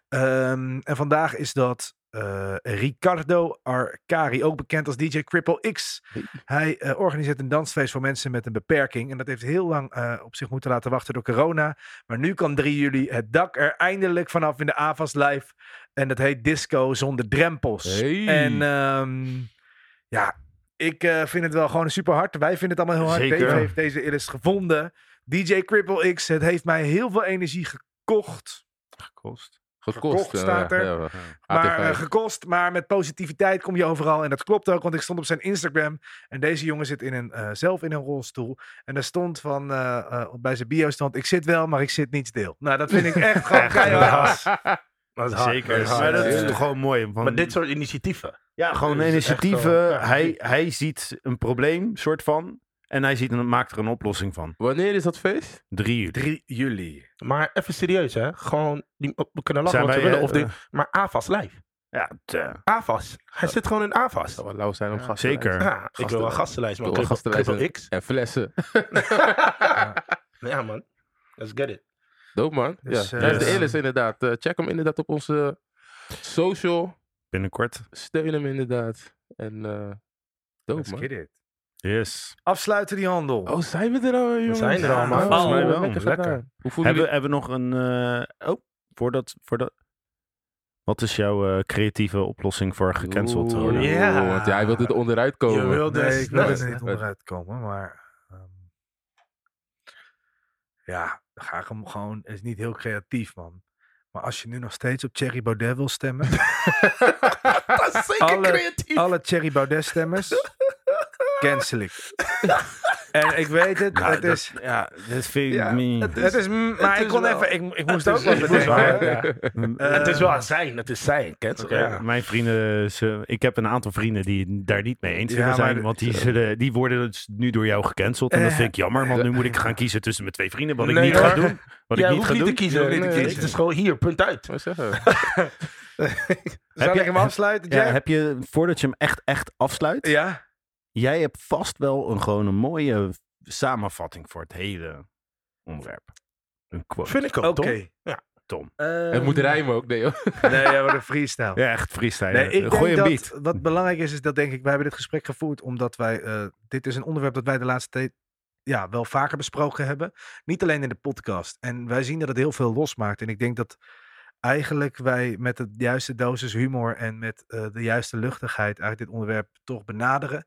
Ehm, en vandaag is dat eh, Ricardo Arcari, ook bekend als DJ Cripple X. Hij eh, organiseert een dansfeest voor mensen met een beperking. En dat heeft heel lang eh, op zich moeten laten wachten door corona. Maar nu kan 3 juli het dak er eindelijk vanaf in de AVAS live. En dat heet Disco zonder drempels.
Hey.
En ehm, ja, ik eh, vind het wel gewoon super hard. Wij vinden het allemaal heel hard.
Zeker.
Dave heeft deze illus gevonden. DJ Cripple X, het heeft mij heel veel energie gekocht.
Gekost.
Gekost,
Gekocht staat
eh,
er.
ja,
Maar,
AT5.
eh, gekost, maar met positiviteit kom je overal. En dat klopt ook, want ik stond op zijn Instagram. En deze jongen zit in een, eh, zelf in een rolstoel. En daar stond van, eh, eh, bij zijn bio stond, ik zit wel, maar ik zit niet stil. Nou, dat vind ik echt gewoon keihard.
Dat is hard,
Zeker.
is hard.
maar dat is
Ja.
toch gewoon mooi. want-
Maar dit soort initiatieven.
ja, gewoon
dit is echt
initiatieven.
wel- ja.
hij, hij ziet een probleem, soort van. En hij ziet en maakt er een oplossing van.
Wanneer is dat feest?
Drie uur.
3 juli.
Maar even serieus, hè. Gewoon, die, we kunnen lachen
Zijn
wat we
wij,
willen.
eh,
Of die- maar AFAS live.
Ja, t-
AFAS. Hij zit gewoon in AFAS.
Dat zou wel lauw zijn om gasten.
zeker.
Ja, ik wil
gastenlijst.
wel gastenlijst,
Ik
man.
wil wel
Cripple- Cripple X.
En flessen.
Ja, man. Let's get it.
Doop man.
Dus,
ja.
eh,
Dat is de
yes.
Illis inderdaad. Eh, check hem inderdaad op onze social.
Binnenkort.
Steun hem inderdaad. En eh doop
Let's
man.
get it.
Yes.
Afsluiten die handel.
Oh, zijn we er al, jongens?
zijn er al, man.
Oh,
Volgens mij wel.
Lekker
Lekker.
gedaan. Hoe voelen
Hebben,
jullie?
we- hebben we nog een... eh, oh, voordat... voordat wat is jouw eh, creatieve oplossing voor gecanceld te
Oeh,
worden?
Ja.
Want jij wilt dit onderuit komen.
Je wil
Nee,
dus...
ik wil
Nee.
er niet onderuit komen, maar... ehm, ja, dan ga ik hem gewoon... Het is niet heel creatief, man. Maar als je nu nog steeds op Thierry Baudet wil stemmen...
Dat is zeker
Alle-
creatief.
alle Thierry Baudet stemmers... cancel ik. en ik weet het,
Nou,
het
dat-
is...
Ja, dat vind ik
Ja,
niet.
Het is, mm, maar
het
ik
is
kon
wel-
even... Ik, ik moest
Het
ook
is-
wat
het is
bedenken.
waar, ja.
Eh,
het is wel zijn, het is zijn. Kent
Oké, Mijn vrienden, ze, ik heb een aantal vrienden die het daar niet mee eens
Ja,
zullen
maar
zijn.
dat-
Want die, zullen, die worden dus nu door jou gecanceld. En dat
Eh.
vind ik jammer, want nu moet ik gaan kiezen tussen mijn twee vrienden. Wat ik
Nee,
niet ga
hoor.
doen. Wat ik niet ga doen.
te kiezen.
Je hoeft niet te kiezen.
Het is gewoon hier, punt uit.
Wat zeggen?
Zal
je-
ik hem afsluiten,
Ja,
Jack?
heb je, voordat je hem echt, echt afsluit,
Ja?
jij hebt vast wel een, gewoon een mooie samenvatting voor het hele onderwerp. Een quote.
Vind ik ook,
Oké. Ehm,
toch?
Tom.
Het moet rijmen ook, nee joh.
Nee, ja, maar een freestyle.
Ja, echt freestyle.
Nee, ik
een
denk
goeie
dat
beat.
wat belangrijk is, is dat denk ik, wij hebben dit gesprek gevoerd omdat wij, eh, dit is een onderwerp dat wij de laatste tijd ja, wel vaker besproken hebben. Niet alleen in de podcast. En wij zien dat het heel veel losmaakt. En ik denk dat eigenlijk wij met de juiste dosis humor en met eh, de juiste luchtigheid eigenlijk dit onderwerp toch benaderen.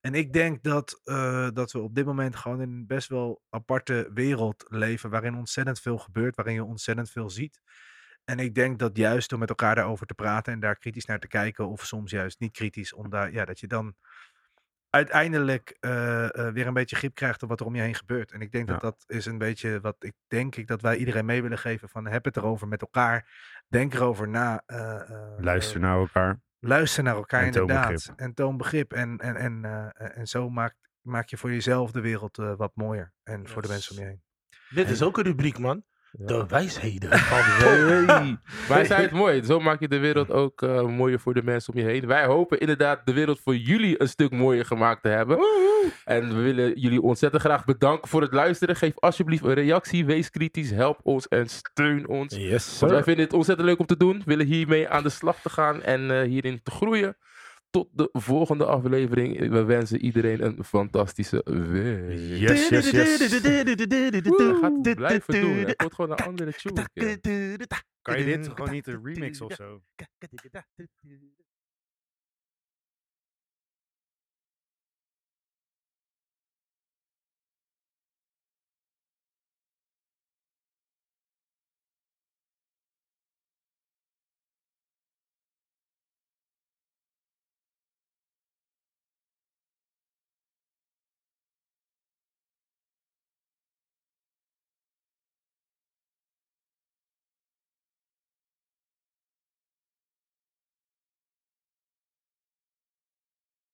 En ik denk dat, eh, dat we op dit moment gewoon in een best wel aparte wereld leven waarin ontzettend veel gebeurt, waarin je ontzettend veel ziet. En ik denk dat juist door met elkaar daarover te praten en daar kritisch naar te kijken, of soms juist niet kritisch, om daar, ja, dat je dan uiteindelijk eh, eh, weer een beetje grip krijgt op wat er om je heen gebeurt. En ik denk dat dat is een beetje wat ik denk ik dat wij iedereen mee willen geven van heb het erover met elkaar, denk erover na. eh, eh,
Luister naar elkaar.
luister naar elkaar
En toon
inderdaad.
begrip.
En toon begrip. En, en, en, eh, en zo maak, maak je voor jezelf de wereld eh, wat mooier. En voor de
Yes.
mensen om je heen.
Dit is ook een rubriek, man. De wijsheden van
Hey. Maar hij zei het mooi. Zo maak je de wereld ook eh, mooier voor de mensen om je heen. Wij hopen inderdaad de wereld voor jullie een stuk mooier gemaakt te hebben. En we willen jullie ontzettend graag bedanken voor het luisteren. Geef alsjeblieft een reactie. Wees kritisch. Help ons en steun ons.
Yes,
Want Dus wij vinden het ontzettend leuk om te doen. willen hiermee aan de slag te gaan en eh, hierin te groeien. Tot de volgende aflevering. We wensen iedereen een fantastische week.
Yes, yes, yes.
Woe, gaat blijven doen. hè. Het wordt gewoon een andere tune. een keer.
Kan je dit gewoon niet een remix of zo?
zo?